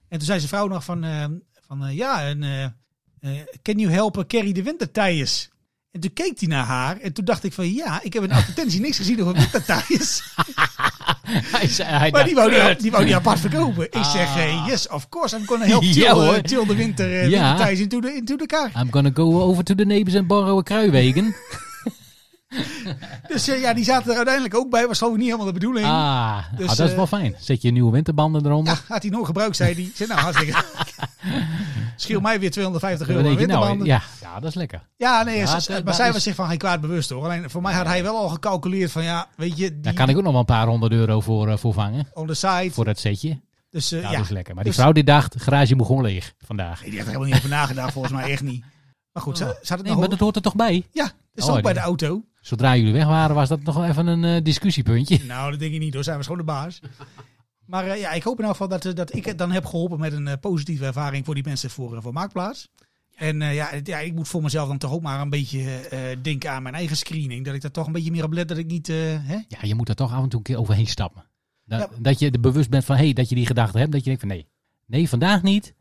S2: En toen zei zijn vrouw nog van, eh, van eh, ja, en, eh, eh, can you help carry de wintertijers? En toen keek hij naar haar en toen dacht ik van ja, ik heb in de advertentie niks gezien over wintertijers.
S1: hij zei, hij
S2: Maar
S1: dacht,
S2: die wou die, die wou die apart verkopen. Ik
S1: Ah.
S2: zeg, eh, yes, of course, I'm gonna help
S1: Ja,
S2: till, eh,
S1: hoor.
S2: till de winter eh
S1: Ja. Ah.
S2: winter Thijs into the, into the car.
S1: I'm gonna go over to the neighbors and borrow a kruiwegen.
S2: Dus eh, ja, die zaten er uiteindelijk ook bij. Was geloof ik niet helemaal de bedoeling.
S1: ah,
S2: Dus,
S1: ah, dat is
S2: eh,
S1: wel fijn. Zet je nieuwe winterbanden eronder.
S2: Ja, had hij nog gebruikt, zei hij. Ik zeg, nou, hartstikke. Schil mij weer 250 euro
S1: Dan
S2: aan
S1: denk je, nou,
S2: winterbanden.
S1: ja, ja, dat is lekker.
S2: ja, nee,
S1: Ja,
S2: ze-
S1: dat-
S2: ze- maar
S1: dat
S2: zij
S1: is-
S2: was zich van geen kwaad bewust hoor. Alleen voor mij had hij wel al gecalculeerd van ja, weet je, die
S1: Daar kan ik ook nog wel een paar honderd euro voor, eh, voor vangen.
S2: on the side.
S1: Voor dat setje.
S2: dus eh,
S1: Ja,
S2: ja,
S1: dat is lekker. Maar die
S2: Dus-
S1: vrouw die dacht, garage moet gewoon leeg vandaag.
S2: Nee, die had er helemaal niet over nagedacht, volgens mij echt niet. Maar goed, ze, ze had het
S1: Nee,
S2: nog
S1: maar dat hoort er toch bij?
S2: Ja, dat is
S1: Oh,
S2: ook bij de
S1: die-
S2: auto.
S1: Zodra jullie weg waren, was dat nog wel even een eh, discussiepuntje.
S2: Nou, dat denk ik niet hoor. Zij was gewoon de baas. Maar eh, ja, ik hoop in elk geval dat, eh, dat ik het dan heb geholpen met een eh, positieve ervaring voor die mensen voor, eh, voor Marktplaats. En eh, ja, het- ja, ik moet voor mezelf dan toch ook maar een beetje eh, eh, denken aan mijn eigen screening. Dat ik daar toch een beetje meer op let dat ik niet... eh, hè?
S1: Ja, je moet daar toch af en toe een keer overheen stappen. Dat,
S2: Ja.
S1: dat je er bewust bent van, hey, dat je die gedachte hebt. Dat je denkt van, nee, nee, vandaag niet.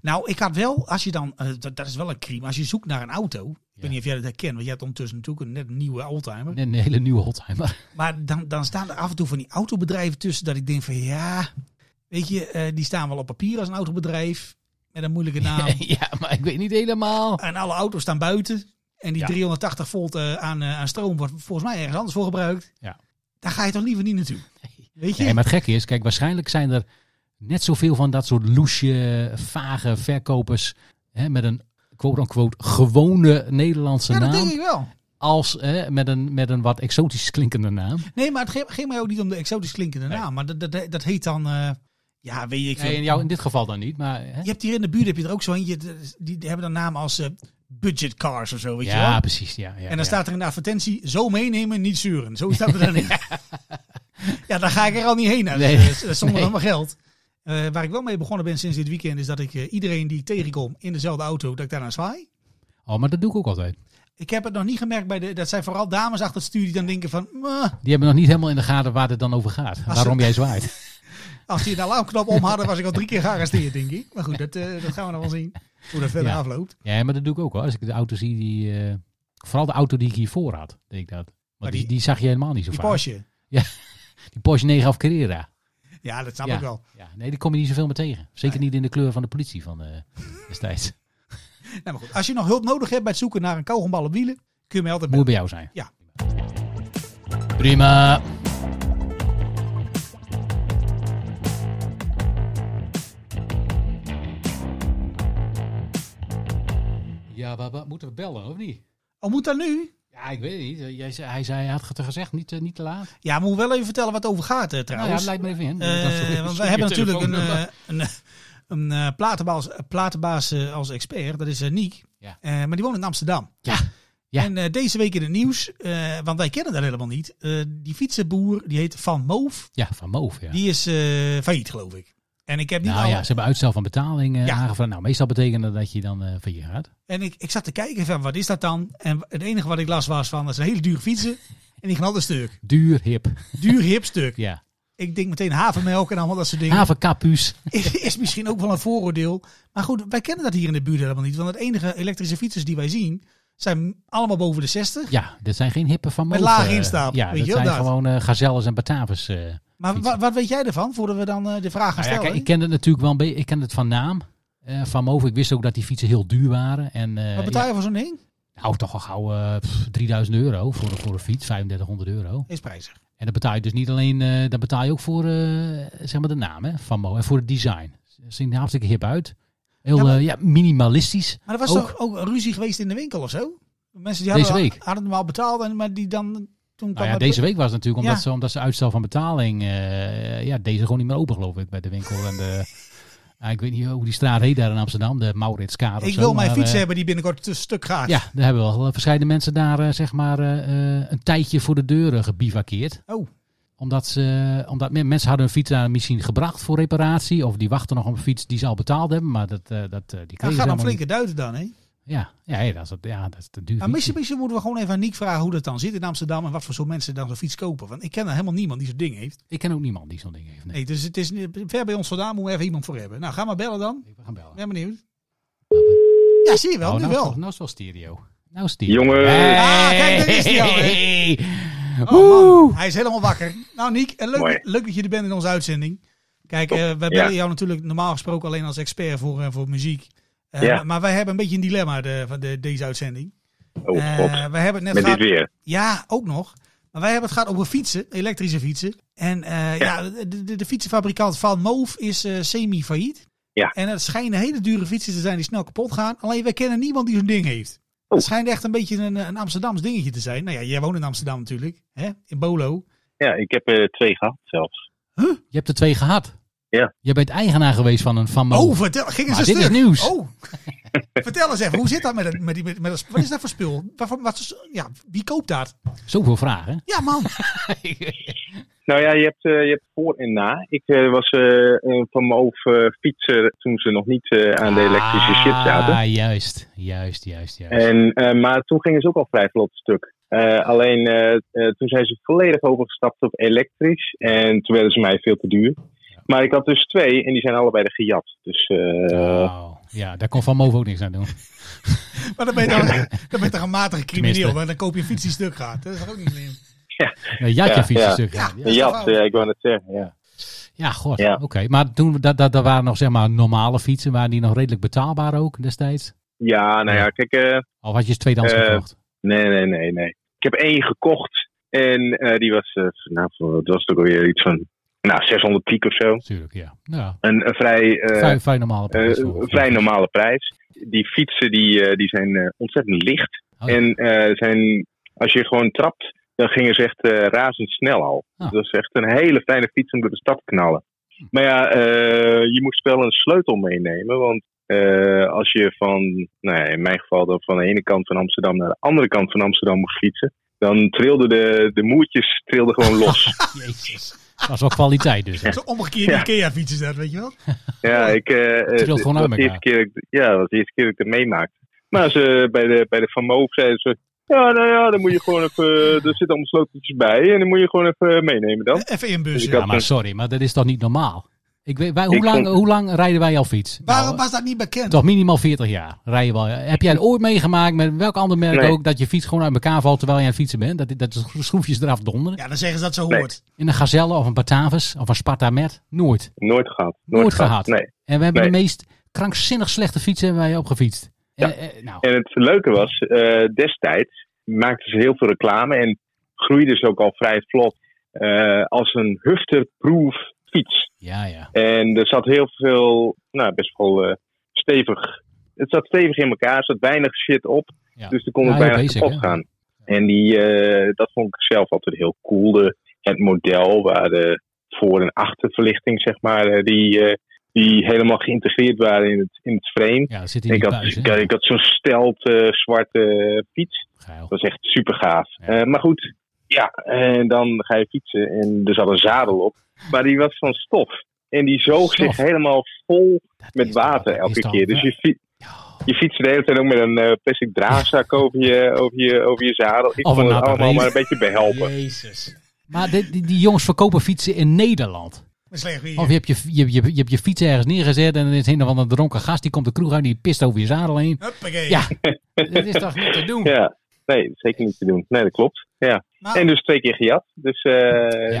S2: Nou, ik had wel, als je dan... eh, dat, dat is wel een crime. Als je zoekt naar een auto... Ik weet niet of jij dat herkent, want jij hebt ondertussen natuurlijk een net een nieuwe oldtimer.
S1: Een hele nieuwe Holtheimer.
S2: Maar dan, dan staan er af en toe van die autobedrijven tussen dat ik denk van ja... Weet je, eh, die staan wel op papier als een autobedrijf. Met een moeilijke naam.
S1: ja, maar ik weet niet helemaal.
S2: En alle auto's staan buiten. En die
S1: Ja.
S2: 380 volt eh, aan, eh, aan stroom wordt volgens mij ergens anders voor gebruikt.
S1: Ja.
S2: Daar ga je toch liever niet naartoe? Weet je?
S1: Nee, maar het gekke is, kijk, waarschijnlijk zijn er net zoveel van dat soort loesje, vage verkopers hè, met een quote-unquote gewone Nederlandse
S2: ja, dat
S1: naam,
S2: denk ik wel.
S1: als hè, met, een, met een wat exotisch klinkende naam.
S2: Nee, maar het ging, ging mij ook niet om de exotisch klinkende naam. Maar dat, dat, dat heet dan... eh, ja, weet ik veel.
S1: Nee, in, jou, in dit geval dan niet, maar... Hè?
S2: Je hebt hier in de buurt heb je er ook zo eentje. dat is- Die hebben dan namen als eh, budget cars of zo, weet je wel.
S1: Ja, precies. Ja, ja,
S2: en dan
S1: ja.
S2: staat er in de advertentie, zo meenemen, niet zuren. Zo staat er dan in. ja, daar ga ik er al niet heen.
S1: Nee.
S2: Nee. zonder
S1: Nee.
S2: allemaal geld. Eh, waar ik wel mee begonnen ben sinds dit weekend, is dat ik eh, iedereen die ik tegenkom in dezelfde auto, dat ik daarna zwaai.
S1: Oh, maar dat doe ik ook altijd.
S2: Ik heb het nog niet gemerkt bij de. Dat zijn vooral dames achter het stuur die dan denken van. "Meh,
S1: Die hebben nog niet helemaal in de gaten waar het dan over gaat. waarom
S2: ze-
S1: jij zwaait.
S2: als die nou een alarmknop om hadden, was ik al drie keer gearresteerd, denk ik. Maar goed, dat, eh, dat gaan we nog wel zien. Hoe dat verder
S1: Ja.
S2: afloopt.
S1: Ja, maar dat doe ik ook wel. Als ik de auto zie die... eh, vooral de auto die ik hiervoor had, denk ik dat. Want
S2: Maar
S1: die,
S2: die-
S1: die zag je helemaal niet zo
S2: Die
S1: vaak.
S2: Porsche.
S1: Die Porsche 9 of Carrera.
S2: Ja, dat snap
S1: Ja.
S2: ik wel.
S1: Ja, nee, daar kom je niet zoveel meer tegen. Zeker niet in de kleur van de politie van eh destijds.
S2: Nee, Nou, maar goed, als je nog hulp nodig hebt bij het zoeken naar een kauwgombal op wielen, kun je me altijd
S1: Moet
S2: bellen.
S1: bij jou zijn.
S2: Ja.
S1: Prima. Ja, wa- wa- moeten we bellen of niet?
S2: Oh, moet dat nu?
S1: Ja, ik weet het niet. Eh, Jij, zei- hij zei, hij had het gezegd, niet, eh, niet te laat.
S2: Ja, maar moet wel even vertellen wat het over gaat, eh,
S1: Nou ja,
S2: trouwens.
S1: lijkt me even in.
S2: Eh,
S1: Dat is-
S2: want
S1: sorry,
S2: wij hebben
S1: je
S2: natuurlijk een,
S1: telefoonnummer.
S2: eh, een, een eh, platenbaas, platenbaas eh, als expert, dat is eh, Niek.
S1: Ja.
S2: Eh, maar die woont in Amsterdam.
S1: Ja. Ja.
S2: En eh, deze week in het nieuws, eh, want wij kennen dat helemaal niet. eh, die fietsenboer, die heet Van Moof,
S1: Ja, van Moof, ja.
S2: die is eh, failliet geloof ik. En ik heb niet
S1: nou
S2: al-
S1: ja, ze hebben uitstel van betaling eh,
S2: Ja.
S1: aangevraagd. Nou, meestal betekent dat dat je dan eh failliet gaat.
S2: En ik, ik zat te kijken van wat is dat dan? En het enige wat ik las was van dat zijn hele dure fietsen. En die gaan altijd stuk.
S1: Duur, hip.
S2: Duur hip stuk.
S1: Ja.
S2: Ik denk meteen havenmelk en allemaal dat soort dingen.
S1: Havenkapuus.
S2: is misschien ook wel een vooroordeel. Maar goed, wij kennen dat hier in de buurt helemaal niet. Want het enige elektrische fietsers die wij zien, zijn allemaal boven de 60.
S1: Ja, dat zijn geen hippen van Moof.
S2: Met lage
S1: eh,
S2: instap,
S1: Ja,
S2: weet
S1: dat
S2: je,
S1: zijn
S2: dat.
S1: gewoon eh, gazelles en batavus. eh.
S2: maar wa- wat weet jij ervan, voordat we dan eh, de vraag gaan
S1: Nou ja,
S2: stellen?
S1: kijk, ik ken het natuurlijk wel een beetje. Ik ken het van naam. eh, van Moof. Ik wist ook dat die fietsen heel duur waren. En, eh,
S2: wat betaal
S1: ja,
S2: je voor zo'n ding?
S1: nou, toch al gauw eh, pff, 3000 euro voor, voor een fiets. 3500 euro.
S2: Is prijzig.
S1: En dat betaal je dus niet alleen, eh dat betaal je ook voor eh, zeg maar de naam hè, van Mo en voor het design. Ze zien er hartstikke hip uit. Heel
S2: Ja,
S1: ja,
S2: maar-
S1: ja, minimalistisch.
S2: Maar er was
S1: Ook.
S2: toch ook een ruzie geweest in de winkel of zo? Mensen die
S1: Deze
S2: hadden,
S1: week?
S2: hadden hem al betaald, en, maar die dan... Toen kwam
S1: Nou ja,
S2: het-
S1: deze week was het natuurlijk omdat,
S2: Ja.
S1: ze, omdat ze uitstel van betaling. eh, ja, deze gewoon niet meer open, geloof ik, bij de winkel. En de, ah, ik weet niet hoe die straat heet daar in Amsterdam, de Mauritskade. of
S2: Ik
S1: zo,
S2: wil mijn
S1: maar,
S2: fiets
S1: eh,
S2: hebben die binnenkort te stuk gaat.
S1: Ja, daar hebben wel eh, verschillende mensen daar eh, zeg maar eh, eh, een tijdje voor de deuren gebivakkeerd.
S2: Oh.
S1: Omdat, ze, omdat men- mensen hadden hun fiets daar misschien gebracht voor reparatie. Of die wachten nog op een fiets die ze al betaald hebben. Maar dat, eh, dat, eh, die
S2: Dat
S1: kregen ze
S2: gaat dan
S1: helemaal
S2: flinke duiten dan, hè?
S1: niet. Ja, ja, ja, dat, is, ja, dat is te duur.
S2: Maar
S1: fietsje.
S2: misschien, misschien moeten we gewoon even aan Niek vragen hoe dat dan zit in Amsterdam en wat voor soort mensen dan zo'n fiets kopen. Want ik ken er helemaal niemand die zo'n ding heeft.
S1: Ik ken ook niemand die zo'n ding heeft. Nee.
S2: Nee, dus het is niet- ver bij ons vandaan, moeten we even iemand voor hebben. Nou, ga maar bellen dan.
S1: We gaan bellen.
S2: Ik ben benieuwd. Ja, zie je wel,
S1: Oh,
S2: nu
S1: nou, is
S2: wel.
S1: het- nou is het wel stereo. Nou is stereo.
S7: Jongen.
S2: Ah, kijk, daar is die al, hè.
S1: Hey.
S2: Oh, man, hij is helemaal wakker. Nou, Niek, eh,
S7: Mooi.
S2: leuk, leuk dat je er bent in onze uitzending. Kijk, eh, wij bellen
S7: Ja.
S2: jou natuurlijk normaal gesproken alleen als expert voor, eh, voor muziek. Eh,
S7: Ja.
S2: maar, maar wij hebben een beetje een dilemma de, van de, deze uitzending.
S7: Oh
S2: Eh,
S7: god,
S2: wij hebben het net
S7: met dit
S2: gehad,
S7: weer.
S2: Ja, ook nog. Maar wij hebben het gehad over fietsen, elektrische fietsen. En eh, ja, de, de, de fietsenfabrikant Van Moof is eh, semi-failliet.
S7: Ja.
S2: En het schijnen hele dure fietsen te zijn die snel kapot gaan. Alleen wij kennen niemand die zo'n ding heeft.
S7: Oh.
S2: Het schijnt echt een beetje een, een Amsterdams dingetje te zijn. Nou ja, jij woont in Amsterdam natuurlijk, hè? in Bolo.
S7: Ja, ik heb eh, twee gehad zelfs.
S1: Je hebt er twee gehad.
S7: Ja.
S1: Je bent eigenaar geweest van een Van Mo.
S2: Oh, vertel, ging eens
S1: Maar
S2: een
S1: dit is
S2: stuk.
S1: nieuws.
S2: Oh. vertel eens even, hoe zit dat met, het- met, die, met, met dat- Wat is dat voor spul? Waarvan, wat, is- ja, wie koopt dat?
S1: Zoveel vragen.
S2: Ja, man.
S7: Nou ja, je hebt, eh, je hebt voor en na. Ik eh, was eh, een van mijn hoofd, eh, fietser toen ze nog niet eh, aan de elektrische shit zaten.
S1: Ah, juist. Juist, juist, juist.
S7: En, eh, maar toen gingen ze ook al vrij vlot stuk. Eh, alleen eh, eh, toen zijn ze volledig overgestapt op elektrisch. En toen werden ze mij veel te duur. Maar ik had dus twee en die zijn allebei er gejat. Dus eh,
S1: Oh, ja, daar kon Van Moof ook niks aan doen. Eh,
S2: Maar dan ben je toch, dan ben je toch een matige crimineel.
S1: Tenminste.
S2: want Dan koop je een fiets die stuk gaat. Dat is toch ook niet slim.
S1: Nee, jij had je fiets
S7: Ja, ja.
S1: een stuk. Ja,
S2: Ja.
S7: een jat, eh, ik wou net zeggen. Ja.
S1: ja god.
S7: Ja.
S1: Oké, maar toen, dat, dat, dat waren nog zeg maar normale fietsen. Waren die nog redelijk betaalbaar ook destijds?
S7: ja, nou ja, kijk, eh,
S1: Of had je ze tweedehands
S7: Eh,
S1: gekocht?
S7: Nee, nee, nee, nee. Ik heb één gekocht. En eh, die was, eh, nou, voor- het was toch alweer iets van, nou, 600 piek of zo.
S1: Natuurlijk, ja. ja
S7: Een, een vrij, eh,
S1: vrij, vrij normale prijs.
S7: eh,
S1: voor-
S7: vrij normale prijs. Die fietsen die, eh, die zijn eh, ontzettend licht.
S1: Oh, ja.
S7: En eh, zijn, als je gewoon trapt, dan gingen ze echt eh, razendsnel al.
S1: Ah.
S7: Dat is echt een hele fijne fiets om door de stad te knallen. Maar ja, eh, je moest wel een sleutel meenemen. Want eh, als je van, nou ja, in mijn geval dan van de ene kant van Amsterdam naar de andere kant van Amsterdam moest fietsen. Dan trilden de, de moertjes trilden gewoon los.
S1: Jezus. Dat was wel kwaliteit dus.
S2: Zo'n omgekeerde
S7: Ja.
S2: IKEA-fiets is dat, weet je wel?
S7: Ja, ik, eh, eh,
S1: trilt
S7: dat
S1: gewoon
S7: was
S1: uit elkaar.
S7: de eerste keer, dat ik- ja, dat was de eerste keer dat ik het meemaakte. Maar ze, bij, de, bij de Van Moof zeiden ze... Ja, nou ja, dan moet je gewoon even... eh, Er zitten allemaal sleuteltjes bij en dan moet je gewoon even eh, meenemen dan.
S2: Even inbussen.
S7: Ik had-
S1: Ja, maar sorry, maar dat is toch niet normaal? Ik weet, wij, hoe,
S7: Ik
S1: lang,
S7: vond-
S1: hoe lang rijden wij al fiets?
S2: Waarom
S1: Nou,
S2: was dat niet bekend?
S1: Toch minimaal 40 jaar rijden wel. Heb jij ooit meegemaakt met welk ander merk
S7: Nee.
S1: ook dat je fiets gewoon uit elkaar valt terwijl je aan het fietsen bent? Dat, dat de schroefjes eraf donderen.
S2: Ja, dan zeggen ze dat zo
S7: Nee.
S2: hoort.
S1: In een gazelle of een batavus of een sparta met? Nooit.
S7: Nooit gehad.
S1: Nooit, gehad.
S7: Nee.
S1: En we hebben
S7: Nee.
S1: de meest krankzinnig slechte fietsen hebben wij opgefietst.
S7: Ja.
S1: Eh, eh, nou,
S7: En het leuke was, eh, destijds maakten ze heel veel reclame en groeiden ze ook al vrij vlot eh, als een hufterproof fiets.
S1: ja, ja.
S7: En er zat heel veel, nou best wel eh, stevig het zat stevig in elkaar, er zat weinig shit op.
S1: Ja.
S7: Dus er kon
S1: Ja,
S7: het
S1: heel
S7: bijna
S1: basic,
S7: kapot
S1: hè?
S7: gaan. En die, eh, dat vond ik zelf altijd heel cool. De, het model waar de voor- en achterverlichting, zeg maar, eh, die, eh, die helemaal geïntegreerd waren in het, in het frame.
S1: Ja, dat zit in
S7: Ik
S1: die
S7: had,
S1: buis, hè?
S7: ik, had- ik had zo'n stelt eh, zwarte fiets.
S1: Geil.
S7: Dat was echt super gaaf. Eh,
S1: Ja.
S7: maar goed, ja, en dan ga je fietsen en er zat een zadel op. Maar die was van stof. En die zoog
S1: Stof.
S7: zich helemaal vol
S1: Dat
S7: met
S1: is dan-
S7: water
S1: dat
S7: elke
S1: is dan-
S7: keer. Dus
S1: ja.
S7: je, fi je fietst de hele tijd ook met een eh, plastic draagzak over, je, over, je, over je zadel. Ik
S1: Of
S7: kon
S1: een
S7: het
S1: nappe
S7: allemaal
S1: reet.
S7: maar een beetje behelpen.
S2: Jezus.
S1: Maar dit- die, die jongens verkopen fietsen in Nederland.
S2: Met slecht
S1: Of
S2: weer.
S1: je hebt je, je, je, je hebt je fiets ergens neergezet en dan is een of andere dronken gast die komt de kroeg uit die pist over je zadel heen.
S2: Huppakee.
S1: Ja, dat is toch niet te doen?
S7: Ja, nee, zeker niet te doen. Nee, dat klopt. Ja.
S2: Maar-
S7: En dus twee keer gejat. Dus eh, nu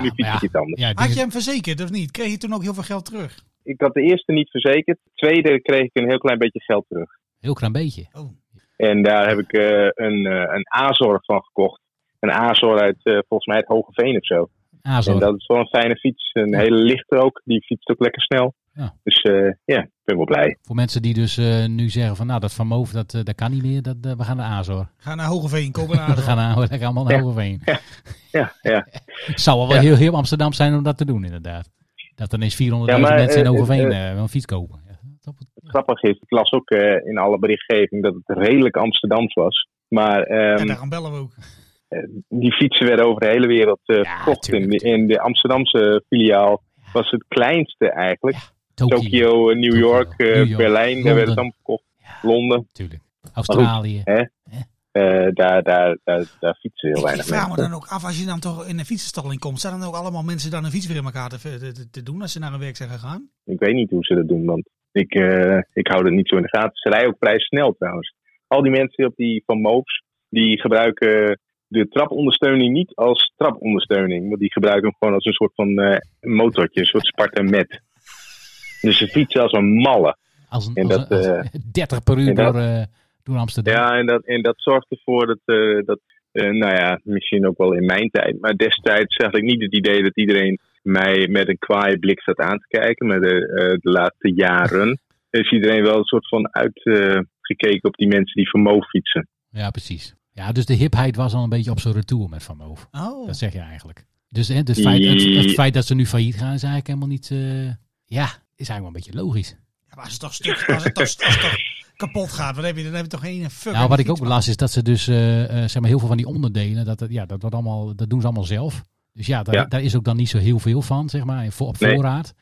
S1: maar
S7: fiets ik
S1: Ah. ja.
S7: iets anders.
S1: Ja,
S2: Had
S1: die-
S2: je hem verzekerd of niet? Kreeg je toen ook heel veel geld terug?
S7: Ik had de eerste niet verzekerd. De tweede kreeg ik een heel klein beetje geld terug.
S1: heel klein beetje.
S2: Oh.
S7: En daar heb ik eh, een, eh een Azor van gekocht. Een Azor uit eh, volgens mij het Hoge Veen of zo.
S1: Ah, zo.
S7: En dat is wel een fijne fiets. Een
S1: Ja.
S7: hele lichte ook. Die fietst ook lekker snel.
S1: Ja.
S7: Dus eh, ja, ik ben wel blij.
S1: Voor mensen die dus eh, nu zeggen van nou, dat Van Moof, dat, eh, dat kan niet meer, dat, eh, we gaan naar Azor.
S2: Ga naar Hogeveen,
S1: We
S2: Kopenhagen.
S1: gaan naar, lekker allemaal naar
S7: Ja.
S1: Hogeveen.
S7: Ja, ja.
S1: Het zou wel wel
S7: Ja.
S1: heel, heel Amsterdam zijn om dat te doen inderdaad. Dat ineens 400.000
S7: Ja, maar,
S1: mensen in
S7: eh,
S1: Hogeveen
S7: eh,
S1: eh, wel een fiets kopen. Ja, dat-
S7: Grappig is, ik las ook eh, in alle berichtgeving dat het redelijk Amsterdams was. Maar ehm,
S2: En daar gaan bellen we ook.
S7: die fietsen werden over de hele wereld eh, verkocht. In de, in de Amsterdamse eh, filiaal was het kleinste eigenlijk.
S1: Tokio,
S7: Tokio, eh, New
S1: Tokio,
S7: York, eh,
S1: New York,
S7: Berlijn, daar
S1: Londen.
S7: werd het allemaal verkocht. Londen,
S1: natuurlijk. Australië.
S7: eh, daar, daar, daar, daar fietsen heel
S2: Ik
S7: weinig
S2: vraag me
S7: mensen.
S2: dan ook af, als je dan toch in een fietsenstalling komt, zijn dan ook allemaal mensen dan een fiets weer in elkaar te, te, te doen als ze naar hun werk zijn gegaan?
S7: Ik weet niet hoe ze dat doen, want ik, eh, ik hou dat niet zo in de gaten. Ze rijden ook vrij snel trouwens. Al die mensen op die van Moops, die gebruiken de trapondersteuning niet als trapondersteuning. Want die gebruiken hem gewoon als een soort van eh, motortje, een soort Sparta met. Dus ze fietsen als een malle.
S1: Als een,
S7: En
S1: als
S7: dat,
S1: een- als
S7: eh,
S1: 30 per uur
S7: en dat-
S1: door, eh, door Amsterdam.
S7: Ja, en dat, en dat zorgt ervoor dat, eh, dat eh, nou ja, misschien ook wel in mijn tijd, maar destijds zag ik niet het idee dat iedereen mij met een kwaaie blik zat aan te kijken. Maar de, eh, de laatste jaren is iedereen wel een soort van uitgekeken op die mensen die vermogen fietsen.
S1: Ja, precies. Ja, dus de hipheid was al een beetje op zijn retour met Van Moof.
S2: Oh,
S1: Dat zeg je eigenlijk. Dus hè, het, feit, het, het feit dat ze nu failliet gaan is eigenlijk helemaal niet... eh, ja, is eigenlijk wel een beetje logisch.
S2: Ja, maar als het toch, stuk, als het toch, als het toch kapot gaat, dan heb je, dan heb je toch geen fuck.
S1: Nou, wat ik ook las is dat ze dus eh, eh, zeg maar heel veel van die onderdelen, dat, dat- ja, dat, wordt allemaal, dat doen ze allemaal zelf. Dus ja, daar,
S7: Ja.
S1: daar is ook dan niet zo heel veel van, zeg maar, voor, op
S7: Nee,
S1: voorraad.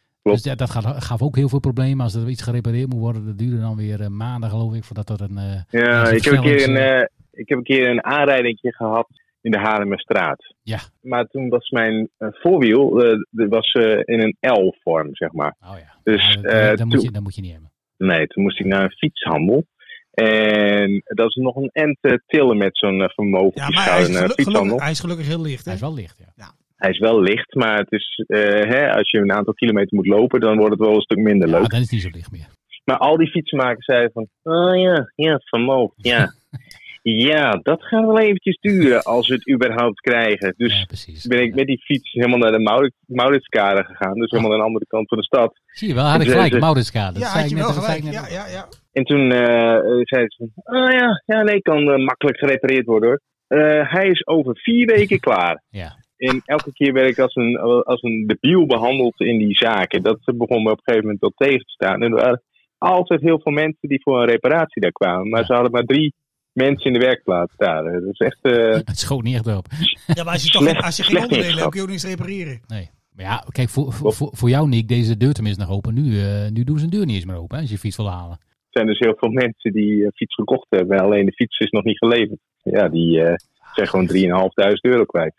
S1: Dus
S7: klopt.
S1: dat, dat gaat, gaf ook heel veel problemen. Als er iets gerepareerd moet worden, dat duurde dan weer eh, maanden, geloof ik, voordat er een... eh,
S7: Ja,
S1: dat
S7: ik heb, een keer een,
S1: versnellings-
S7: eh, ik heb een keer een aanrijdingje gehad in de Haarlemmerstraat.
S1: Ja.
S7: Maar toen was mijn eh, voorwiel eh, dat was, eh, in een L-vorm, zeg maar.
S1: oh ja,
S7: Dus,
S1: Ja, dat,
S7: eh,
S1: dat moet
S7: toe-
S1: je, dat moet je niet hebben.
S7: Nee, toen moest ik naar een fietshandel. En dat is nog een end te tillen met zo'n eh, vermogen
S2: Ja,
S7: die
S2: maar hij
S7: schouder
S2: is,
S7: naar een
S2: geluk- gelukkig,
S7: eh, fietshandel.
S2: hij is gelukkig heel licht.
S1: Hij is
S2: Hè?
S1: wel licht, ja.
S7: Hij is wel licht, maar het is, eh, hè, als je een aantal kilometer moet lopen, dan wordt het wel een stuk minder
S1: Ja,
S7: leuk.
S1: dan is het niet zo licht meer.
S7: Maar al die fietsenmakers zeiden van, oh ja, ja, vermogen, ja. ja, dat gaat wel eventjes duren als we het überhaupt krijgen. Dus
S1: Ja, precies.
S7: ben ik met die fiets helemaal naar de Maurits- Mauritskade gegaan, dus helemaal aan de andere kant van de stad.
S1: Zie je wel, had ik
S7: Dus,
S1: gelijk,
S7: eh,
S1: Mauritskade. Dat
S2: Ja,
S1: zei
S2: had je
S1: ik net-
S2: wel
S1: dat zei
S2: gelijk. Ja,
S1: ik net
S2: ja,
S1: ook.
S2: ja.
S7: En toen eh, eh, zei ze van, oh ja, ja nee, kan eh, makkelijk gerepareerd worden hoor. Eh, hij is over vier weken klaar.
S1: Ja.
S7: En elke keer werd ik als een, als een debiel behandeld in die zaken. Dat begon me op een gegeven moment wel tegen te staan. En er waren altijd heel veel mensen die voor een reparatie daar kwamen. Maar
S1: Ja.
S7: ze hadden maar drie mensen in de werkplaats daar. Eh, Dat is echt... eh,
S1: Het schoot niet echt op.
S2: Ja, maar als je, toch, geen-
S7: Slecht-
S2: als je geen onderdelen
S7: slecht
S2: hebt,
S7: ingeschat.
S2: kun je ook niks repareren.
S1: Nee. Maar ja, kijk, voor, voor, voor, voor jou, Nick, deze deur tenminste nog open. Nu, eh, nu doen ze een deur niet eens meer open, hè, als je je fiets wil halen.
S7: Er zijn dus heel veel mensen die eh, fiets gekocht hebben. Alleen de fiets is nog niet geleverd. Ja, die eh, zijn gewoon 3.500 euro kwijt.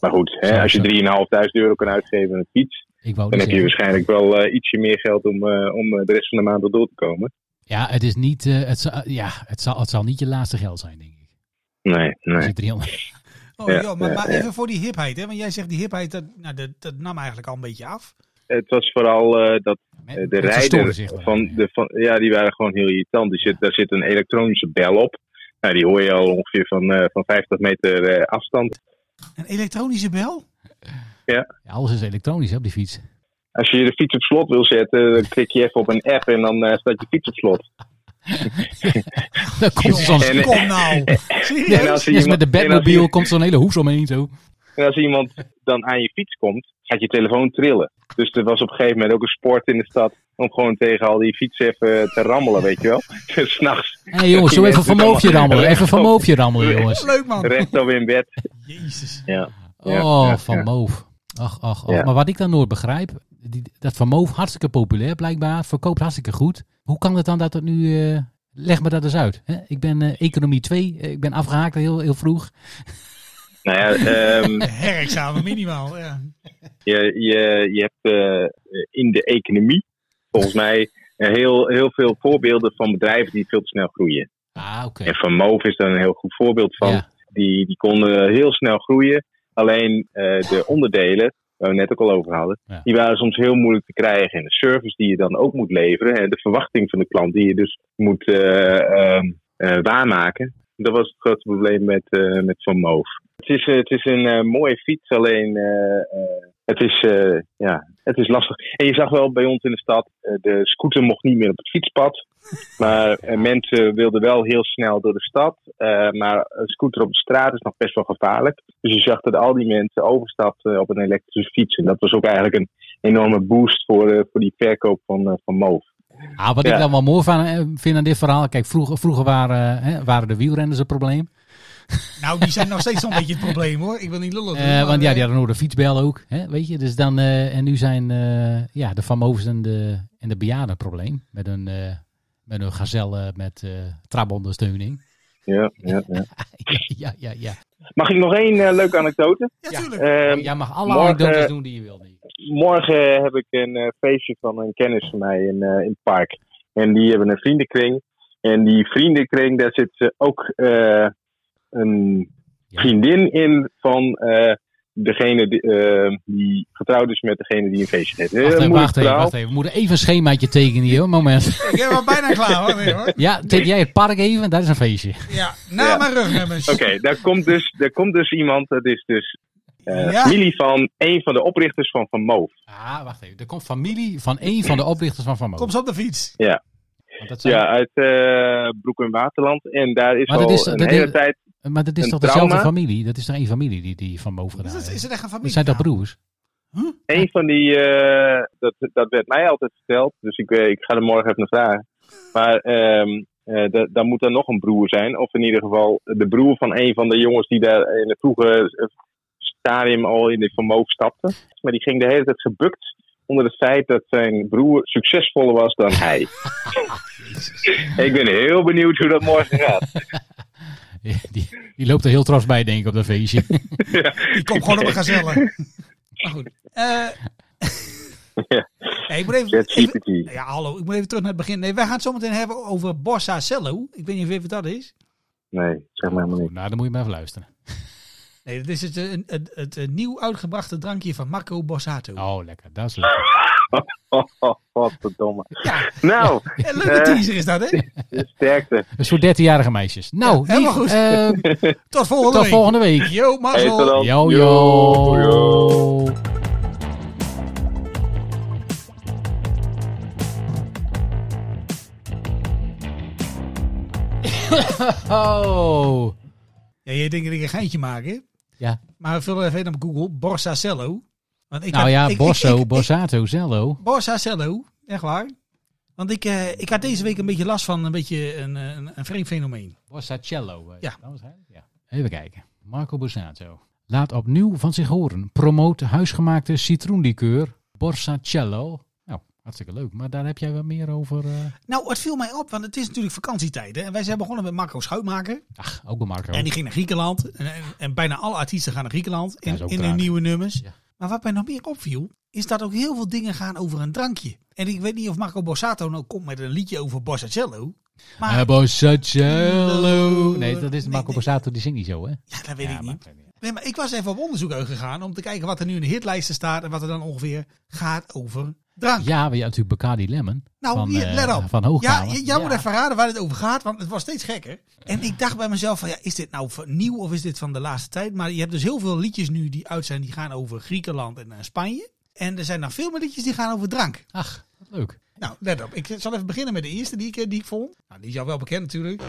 S7: Maar goed, hè, als je 3.500 euro kan uitgeven aan een fiets...
S1: Ik wou
S7: Dan
S1: niet
S7: heb
S1: zeggen.
S7: je waarschijnlijk wel eh, ietsje meer geld om, eh, om eh, de rest van de maand er door te komen.
S1: Ja, het is niet, eh, het, zal, ja het, zal, het zal niet je laatste geld zijn, denk ik.
S7: Nee,
S1: Als
S7: nee.
S1: je 300
S2: Oh,
S7: Ja,
S2: joh, maar,
S7: ja,
S2: maar
S7: ja.
S2: even voor die hipheid. Hè? Want jij zegt die hipheid, dat, nou, dat, dat nam eigenlijk al een beetje af.
S7: Het was vooral eh, dat eh, de
S1: mensen storen zich eraan,
S7: rijder van
S1: ja.
S7: de van, ja, die waren gewoon heel irritant. Die zit, daar zit een elektronische bel op. Nou, die hoor je al ongeveer van, eh, van 50 meter eh, afstand.
S2: Een elektronische bel?
S1: Ja, alles is elektronisch hè, op die fiets.
S7: Als je de fiets op slot wil zetten, dan klik je even op een app en dan eh, staat je fiets op slot.
S1: Dan komt er zo'n...
S7: En-
S2: Kom nou.
S7: en
S2: Serieus?
S7: als er
S1: Net als met de
S7: iemand- en als
S1: Batmobile
S7: iemand-
S1: komt zo'n hele hoes omheen zo.
S7: En als iemand dan aan je fiets komt, gaat je telefoon trillen. Dus er was op een gegeven moment ook een sport in de stad om gewoon tegen al die fietsen even te rammelen, weet je wel. Dus s'nachts
S1: Hé jongens, zo even
S7: Die mensen
S1: van
S7: dan-
S1: moofje rammelen. Even van moofje rammelen, jongens.
S2: Leuk man.
S7: rechtop in bed.
S2: Jezus.
S7: Ja. Ja,
S1: Oh,
S7: ja,
S1: Van
S7: ja.
S1: Moof. Ach, ach, ach.
S7: Ja.
S1: Maar wat ik dan nooit begrijp, die, dat Van Moof hartstikke populair blijkbaar, verkoopt hartstikke goed. Hoe kan het dan dat het nu... eh, leg me dat eens uit. Hè? Ik ben eh, economie 2, eh, ik ben afgehaakt heel, heel vroeg.
S7: Nou ja, ehm,
S2: Herexamen minimaal. Ja.
S7: je, je, je hebt eh, in de economie volgens mij eh, heel, heel veel voorbeelden van bedrijven die veel te snel groeien.
S1: Ah, oké.
S7: En Van Moof is daar een heel goed voorbeeld van.
S1: Ja.
S7: Die, die konden heel snel groeien. Alleen eh, de onderdelen, waar we net ook al over hadden,
S1: Ja.
S7: die waren soms heel moeilijk te krijgen. En de service die je dan ook moet leveren, en de verwachting van de klant die je dus moet eh, ehm, eh, waarmaken. Dat was het grote probleem met, eh, met Van Moof. Het is, eh, het is een eh, mooie fiets, alleen eh, eh, het, is, eh, ja, het is lastig. En je zag wel bij ons in de stad, eh, de scooter mocht niet meer op het fietspad. Maar eh, mensen wilden wel heel snel door de stad. Eh, maar een scooter op de straat is nog best wel gevaarlijk. Dus je zag dat al die mensen overstapten op een elektrische fiets. En dat was ook eigenlijk een enorme boost voor, eh, voor die verkoop van, eh, van Moof.
S1: Ah, wat ik
S7: Ja.
S1: dan wel mooi van, eh, vind aan dit verhaal. Kijk, vroeger, vroeger waren, eh, hè, waren de wielrenners een probleem.
S2: Nou, die zijn nog steeds een beetje het probleem hoor. Ik wil niet lullen. doen,
S1: Eh,
S2: maar,
S1: want ja,
S2: eh,
S1: die hadden ook de fietsbel ook. Hè, weet je? Dus dan, eh, en nu zijn eh, ja, de famosen en de, en de bejaarden een probleem. Met hun, eh, met hun gazelle met eh trabondersteuning.
S7: Ja, ja, ja.
S1: ja, ja, ja.
S7: Mag ik nog één eh, leuke anekdote?
S2: Ja, tuurlijk.
S7: Ehm,
S1: Jij mag alle
S7: morgen- eh,
S1: anekdotes doen die je wil. Nico.
S7: morgen heb ik een eh, feestje van een kennis van mij in, eh, in het park. En die hebben een vriendenkring. En die vriendenkring, daar zit eh, ook eh, een
S1: Ja.
S7: vriendin in van eh, degene die, eh, die getrouwd is met degene die een feestje heeft. Heel
S1: Wacht even,
S7: moeilijk
S1: wacht even,
S7: verhaal.
S1: wacht even. We moeten even een schemaatje tekenen hier. hoor. Moment.
S2: Ik ben wel bijna klaar hoor. Nee, hoor.
S1: Ja, teken jij het park even. Dat is een feestje.
S2: Ja, Nou, na
S7: Ja.
S2: mijn rugnummers.
S7: Oké, daar, komt dus, daar komt dus iemand, dat is dus eh,
S2: Ja.
S7: familie van een van de oprichters van Van Moof.
S1: Ah, wacht even. Er komt familie van één van de oprichters van Van Moof.
S2: Kom ze op de fiets.
S1: Want dat zijn-
S7: Ja, uit eh, Broek en Waterland. En daar is
S1: Maar
S7: al
S1: dat is-
S7: een
S1: dat
S7: hele
S1: is-
S7: tijd...
S1: Maar dat is
S7: Een
S1: toch
S7: trauma?
S1: dezelfde familie? Dat is toch één familie die, die Van Moof
S2: Is
S1: gedaan
S2: het, is
S1: heeft?
S2: het echt een
S1: Dat
S2: familie?
S1: zijn toch
S2: Nou,
S1: broers?
S7: Een van die, eh, dat, dat werd mij altijd verteld, dus ik, eh, ik ga er morgen even naar vragen. Maar ehm, eh, da- dan moet er nog een broer zijn, of in ieder geval de broer van een van de jongens die daar in het vroege eh, stadium al in de vermogen stapte. Maar die ging de hele tijd gebukt onder het feit dat zijn broer succesvoller was dan hij. ik ben heel benieuwd hoe dat morgen gaat.
S1: Die, die loopt er heel trots bij, denk ik, op dat feestje.
S2: Ik kom gewoon op een gazelle. Maar goed. Eh
S7: Ja.
S2: nee, ik moet even, even-
S7: ChatGPT.
S2: ja, hallo. Ik moet even terug naar het begin. Nee, wij gaan het zo meteen hebben over Borsa Cello. Ik weet niet of even wat dat is.
S7: Nee, zeg maar helemaal niet.
S1: nou, dan moet je maar even luisteren.
S2: Nee, dat is het, eh, het, het, eh, nieuw uitgebrachte drankje van Marco Borsato.
S1: Oh, lekker. Dat is lekker.
S7: Oh, oh, godverdomme.
S2: Ja,
S7: Nou,
S2: ja, leuke
S7: Eh.
S2: teaser is dat, hè?
S7: sterkte.
S1: Een soort 13-jarige meisjes. Nou,
S2: Ja, helemaal
S1: lief,
S2: goed.
S1: eh,
S2: Tot volgende
S1: tot
S2: week.
S1: volgende week.
S2: Yo,
S7: Hey, tot
S2: mazzel.
S7: dan.
S1: Yo,
S7: Yo,
S1: yo. Oh.
S2: Ja, je denkt dat ik een geintje maak, hè?
S1: Ja.
S2: Maar vul even in op Google Borsa Cello. Want ik
S1: Nou
S2: had-
S1: ja,
S2: ik-
S1: Bosso,
S2: ik- ik-
S1: Borsato, Zello.
S2: Borsa Cello, echt waar. Want ik, eh, ik had deze week een beetje last van een beetje een, eh, een, een vreemd fenomeen.
S1: Borsacello. eh,
S2: Ja.
S1: dat was hij? ja. Even kijken. Marco Borsato. Laat opnieuw van zich horen. Promoot huisgemaakte citroenlikeur Borsacello. Nou, hartstikke leuk. Maar daar heb jij wel meer over. eh?
S2: Nou, het viel mij op, want het is natuurlijk vakantietijd. Hè? En wij zijn begonnen met Marco Schuitmaker.
S1: Ach, ook bij Marco.
S2: En die ging naar Griekenland. En, en, en bijna alle artiesten gaan naar Griekenland
S1: Dat is
S2: in,
S1: ook
S2: in hun
S1: raar.
S2: nieuwe nummers.
S1: Ja.
S2: Maar wat mij nog meer opviel, is dat ook heel veel dingen gaan over een drankje. En ik weet niet of Marco Borsato nou komt met een liedje over Borsacello. Maar
S1: Eh, Borsacello. Nee, dat is
S2: Nee,
S1: Marco
S2: nee.
S1: Borsato. Die zingt niet zo, hè?
S2: ja, dat weet
S1: Ja,
S2: ik
S1: maar-
S2: niet. Nee, maar ik was even op onderzoek gegaan om te kijken wat er nu in de hitlijsten staat. En wat er dan ongeveer gaat over drank.
S1: Ja, we hebben natuurlijk Bacardi Lemon.
S2: Nou,
S1: van,
S2: hier,
S1: eh,
S2: let op.
S1: Van
S2: Ja,
S1: Hoogkamer.
S2: j- jij moet even raden waar het over gaat, want het wordt steeds gekker. En ik dacht bij mezelf van, ja, is dit nou van nieuw of is dit van de laatste tijd? Maar je hebt dus heel veel liedjes nu die uit zijn, die gaan over Griekenland en eh, Spanje. En er zijn nog veel meer liedjes die gaan over drank.
S1: Ach, wat leuk.
S2: Nou, let op. Ik zal even beginnen met de eerste die ik, die ik vond. Nou, die is jou wel bekend natuurlijk.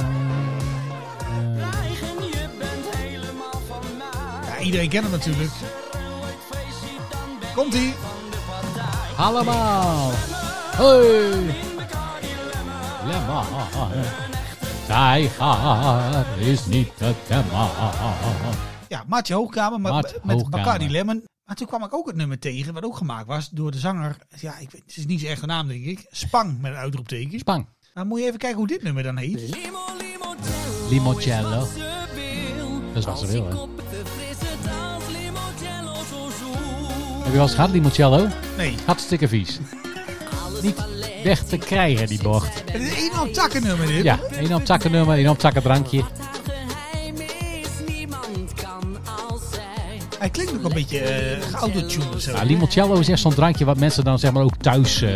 S1: Eh, eh,
S6: Eigen, je bent helemaal van mij.
S2: Ja, iedereen kent hem natuurlijk. Komt-ie.
S1: allemaal. Hoi. Ja, maar. ah, Tijgaard is niet te temmen.
S2: Ja, Maartje Hoogkamer maar,
S1: Maartje
S2: met
S1: Hoogkamer.
S2: Bacardi Lemon. Maar toen kwam ik ook het nummer tegen, wat ook gemaakt was door de zanger. Ja, ik weet, het is niet zijn echte naam, denk ik. Spang met een uitroepteken.
S1: Spang.
S2: Maar moet je even kijken hoe dit nummer dan heet.
S6: Limo, limoncello.
S1: Limoncello.
S6: is wat ze wil. Als
S1: Dat is wat ze wil,
S6: ik
S1: hè?
S6: op de frisse dans, limoncello zo
S1: Heb
S6: zoet.
S1: je wel eens gehad, limoncello?
S2: Nee,
S1: Hartstikke vies. Niet weg te krijgen, die bocht.
S2: het is een op takken nummer dit.
S1: Ja, één op takken nummer, één op takken drankje.
S6: Wat haar geheim is, niemand kan als zij.
S2: Hij klinkt ook een beetje eh geautotuned of zo.
S1: Ja, limoncello Nou, is echt zo'n drankje wat mensen dan zeg maar ook thuis eh,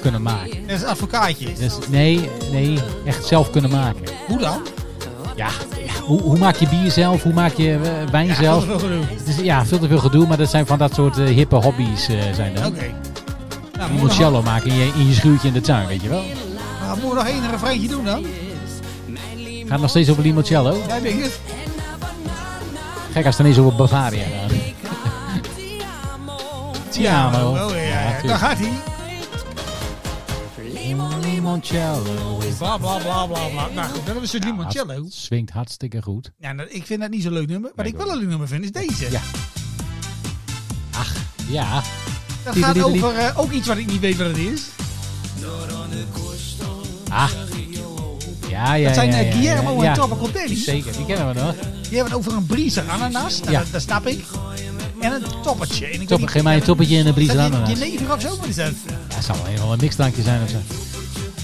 S1: kunnen maken.
S2: Dat is een advocaatje.
S1: Dus nee, nee, echt zelf kunnen maken.
S2: Hoe dan?
S1: Ja, hoe, hoe maak je bier zelf? Hoe maak je eh, wijn
S2: Ja,
S1: zelf?
S2: dat is wel genoeg.
S1: Het is, ja, veel te veel gedoe, maar dat zijn van dat soort eh, hippe hobby's eh, zijn
S2: Oké.
S1: dat.
S2: Nou,
S1: Je
S2: moet
S1: moet
S2: nog,
S1: cello maken in je, in je schuurtje in de tuin, weet je wel.
S2: nou, moet nog één refreintje doen dan?
S1: Gaat nog steeds over limoncello.
S2: Jij denkt het?
S1: Gek als het ineens over Bavaria gaat. Tiamo.
S2: Oh, ja, ja, ja. Daar
S1: tuurlijk.
S2: gaat hij.
S1: Limoncello.
S2: Bla bla bla bla bla. Nou goed, dat is een limoncello.
S1: Hart- Swingt hartstikke goed.
S2: Ja, nou, ik vind dat niet zo'n leuk nummer. Wat
S1: Nee,
S2: ik
S1: ik
S2: wel een leuk nummer vind, is deze.
S1: Ja. Ja,
S2: Dat gaat
S1: Tiddeliedelied.
S2: over eh, ook iets wat ik niet weet wat het is.
S1: ah. Ja, ja,
S2: Dat zijn
S1: ja,
S2: eh,
S1: ja,
S2: Guillermo
S1: ja, ja.
S2: en Torbacotelli.
S1: Zeker, die kennen we nog.
S2: Die hebben het over een briezer ananas. Nou,
S1: Ja.
S2: dat, dat snap ik. En een toppertje. En ik
S1: Toppen, geef mij een toppetje en een briezer ananas.
S2: Je neger of zo, wat is dat?
S1: Ja, het zal wel een of ander mixdrankje zijn of zo.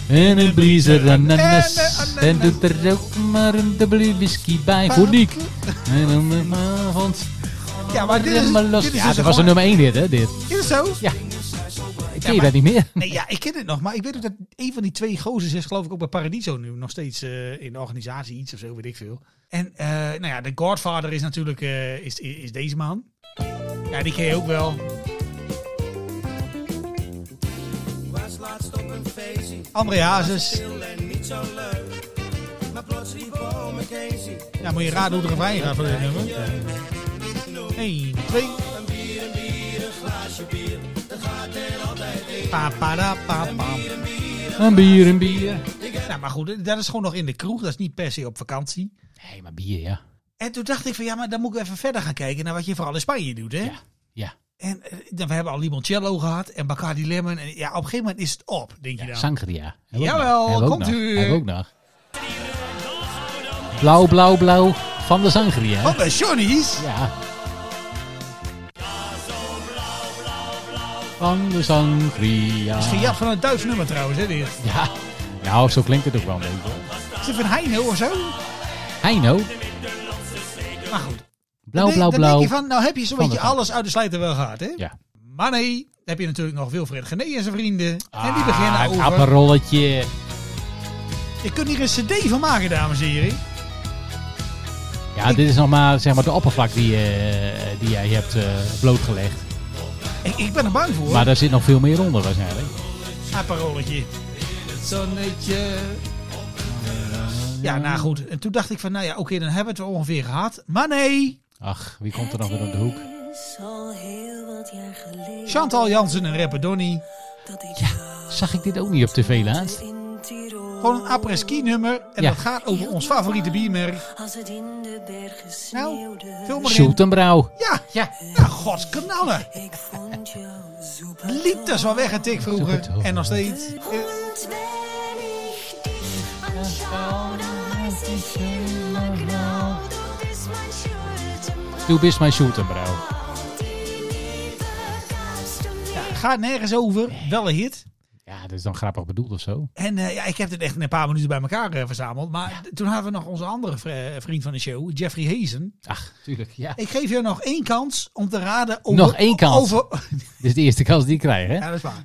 S1: En een briezer ananas.
S2: En een
S1: En doet er ook maar een dubbele whisky bij voor Niek. En een eh, avond.
S2: Ja, maar dit is,
S1: helemaal los.
S2: dit is
S1: Ja,
S2: dus
S1: dat was een
S2: gewoon-
S1: nummer 1 dit, hè? Dit.
S2: Is het zo?
S1: Ja. Ik ken je
S2: maar-
S1: dat niet meer.
S2: Nee, ja, ik ken het nog. Maar ik weet ook dat een van die twee gozers is geloof ik ook bij Paradiso nu. Nog steeds eh, in de organisatie iets of zo, weet ik veel. En eh, nou ja, de Godfather is natuurlijk eh, is, is deze man. Ja, die ken je ook wel. André Hazes. Ja, moet je raden hoe de refrein gaat van dit nummer. 1, 2, pa, pa, da, pa, pa.
S1: Een bier, een bier.
S2: Nou, maar goed, dat is gewoon nog in de kroeg. Dat is niet per se op vakantie.
S1: Nee, maar bier, ja.
S2: En toen dacht ik van ja, maar dan moet ik even verder gaan kijken naar wat je vooral in Spanje doet. Hè?
S1: Ja. Ja.
S2: En eh, dan- we hebben al limoncello gehad en Bacardi Lemon. En ja, op een gegeven moment is het op, denk je
S1: ja.
S2: dan.
S1: Sangria. Hebben we ook
S2: Jawel,
S1: nog. Hebben we ook
S2: komt
S1: nog.
S2: u.
S1: Hebben we ook nog. Blauw, blauw, blauw van de sangria.
S2: Oh, bij Johnny's.
S1: Ja. Van de sangria.
S2: Is gejat van een Duits nummer trouwens, hè dit.
S1: Ja. Nou, zo klinkt het ook wel een beetje.
S2: Is het van Heino of zo?
S1: Heino.
S2: Maar goed.
S1: Blauw,
S2: Dan denk-
S1: blauw,
S2: Dan denk
S1: blauw.
S2: je van, nou heb je zo'n
S1: Van
S2: beetje
S1: de gang.
S2: alles uit de slijter wel gehad, hè?
S1: Ja.
S2: Maar nee, dan heb je natuurlijk nog Wilfred Gené en zijn vrienden. en die beginnen
S1: Ah, een
S2: over...
S1: aperolletje.
S2: Je kunt hier een cd van maken, dames en heren.
S1: Ja, dit is nog maar, zeg maar de oppervlak die, eh, die jij hebt eh, blootgelegd.
S2: Ik, ik ben er bang voor.
S1: Maar daar zit nog veel meer onder waarschijnlijk.
S2: Aparoletje. Het zonnetje. Ja, nou goed. En toen dacht ik van, nou ja, oké, dan hebben we het ongeveer gehad. Maar nee,
S1: Ach, wie komt er nog weer op de hoek?
S2: Chantal Jansen en rapper Donny.
S1: Zag ik dit ook niet op tv laatst?
S2: Gewoon een apres-ski nummer. En
S1: Ja.
S2: dat gaat over ons favoriete biermerk.
S8: Als het in de bergen
S2: Nou,
S8: sneeuwde,
S2: vul maar in.
S1: Shoot en brouw.
S2: Ja,
S1: Ja.
S2: ja, godsknallen.
S8: ik vond jou zo
S2: Liep dus wel weg een tik
S1: Zoek het
S2: vroeger.
S1: over.
S2: En nog steeds. Eh,
S8: Und wenn ich dich anschaue, dann weiß ich immer genau, du bist mein Schuld im
S1: Du bist mijn shoot en brouw.
S8: Raum. Die Liebe gabst du mir.
S2: Gaat nergens over. Wel een hit.
S1: Ja, dat is dan grappig bedoeld of zo.
S2: En eh, ja, ik heb het echt in een paar minuten bij elkaar eh, verzameld. Maar d- toen hadden we nog onze andere vri- eh, vriend van de show, Jeffrey Hazen.
S1: Ach, tuurlijk. Ja.
S2: Ik geef jou nog één kans om te raden over...
S1: Nog één kans?
S2: Over,
S1: Dit is de eerste kans die ik krijg, hè?
S2: ja, dat is waar.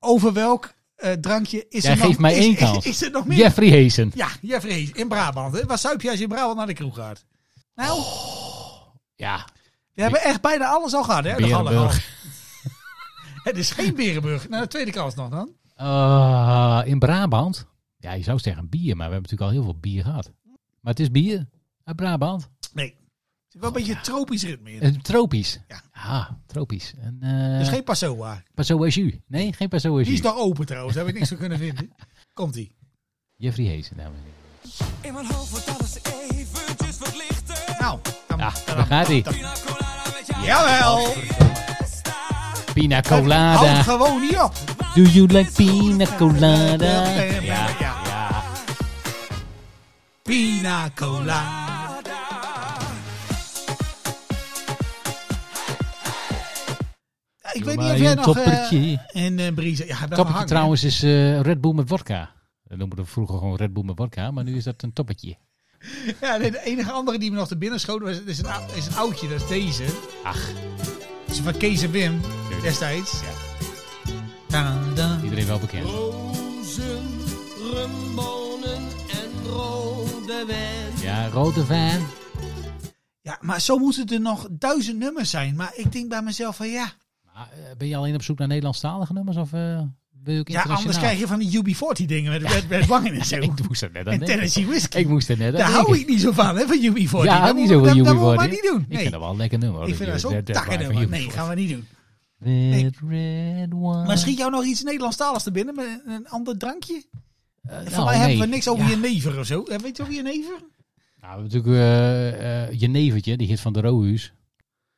S2: Over welk eh, drankje is
S1: Jij
S2: er nog...
S1: geeft mij
S2: is-
S1: één
S2: is-
S1: kans.
S2: Is, er nog meer?
S1: Jeffrey Heesen.
S2: Ja, Jeffrey
S1: Oh,
S2: Hazen, in Brabant. Hè? Wat zuip je als je in Brabant naar de kroeg gaat? Nou,
S1: Ja.
S2: We hebben echt bijna alles al gehad, hè? de
S1: Berenburg.
S2: Gallenhal. Het is geen Berenburg. Nou, de tweede kans nog dan.
S1: Eh, in Brabant. Ja, je zou zeggen bier, maar we hebben natuurlijk al heel veel bier gehad. Maar het is bier uit Brabant.
S2: Nee. Er zit wel een beetje een tropisch ritme in.
S1: Oh, Eh, tropisch.
S2: Ja.
S1: Ah, tropisch. En, eh
S2: Dus geen Passoa.
S1: Passo Jus. Nee, geen Passo
S2: Die is
S1: Jus.
S2: nog open trouwens, daar heb ik niks van kunnen vinden. Komt-ie.
S1: Jeffrey Hees. dames en heren.
S9: In mijn hoofd wordt alles eventjes wat lichter.
S2: Nou, dan,
S1: Ja, daar gaat hij.
S9: Pina colada met jou.
S2: Jawel!
S9: Sta.
S1: Pina
S2: Houd
S1: colada.
S2: gewoon niet op.
S1: Do you like pina colada?
S2: Ja, ja, Pina colada. Ja, Ik weet niet of
S1: Maar
S2: jij
S1: een
S2: nog... eh,
S1: toppertje.
S2: en eh Breeze. Ja, dat
S1: Toppertje trouwens is eh, Red Bull met vodka. We noemden we vroeger gewoon Red Bull met vodka, maar nu is dat een toppetje.
S2: Ja, nee, de enige andere die me nog te binnen schoot was, is, een, ou- is een oudje, dat is deze.
S1: Ach,
S2: Dat is van Kees en Wim, destijds.
S1: Ja.
S2: Dan, dan.
S1: iedereen wel bekend. Ja, rode wijn.
S2: Ja, maar zo moeten er nog duizend nummers zijn. Maar ik denk bij mezelf van ja,
S1: Maar, eh, ben je alleen op zoek naar Nederlandstalige nummers of eh wil je ook
S2: ja
S1: internationaal?
S2: anders krijg je van die UB40 dingen met Red, Red Wangen en zo.
S1: Ik moest er net aan
S2: en
S1: denken.
S2: Tennessee Whiskey.
S1: Ik moest er net aan
S2: Daar
S1: denken.
S2: hou ik niet zo van, hè, van UB40.
S1: Ja, niet
S2: Dat
S1: zo van jullie
S2: moet- dat- Dat moeten we
S1: worden.
S2: maar niet doen.
S1: Ik
S2: Nee,
S1: vind dat wel een lekker nummer. hoor.
S2: ik vind dat
S1: Red-
S2: zo'n
S1: Red Wine van
S2: takkennummer.
S1: jullie
S2: Nee,
S1: wordt.
S2: gaan we niet doen.
S1: Red, red wine.
S2: Maar schiet jou nog iets Nederlandstaligs te binnen met een- een ander drankje?
S1: Eh,
S2: Van
S1: nou,
S2: mij hebben we
S1: nee.
S2: niks over
S1: Ja.
S2: je never of zo. Eh, Weet je over je never?
S1: Nou, we hebben natuurlijk eh, eh, Jenevertje, die hit van de Rohuus.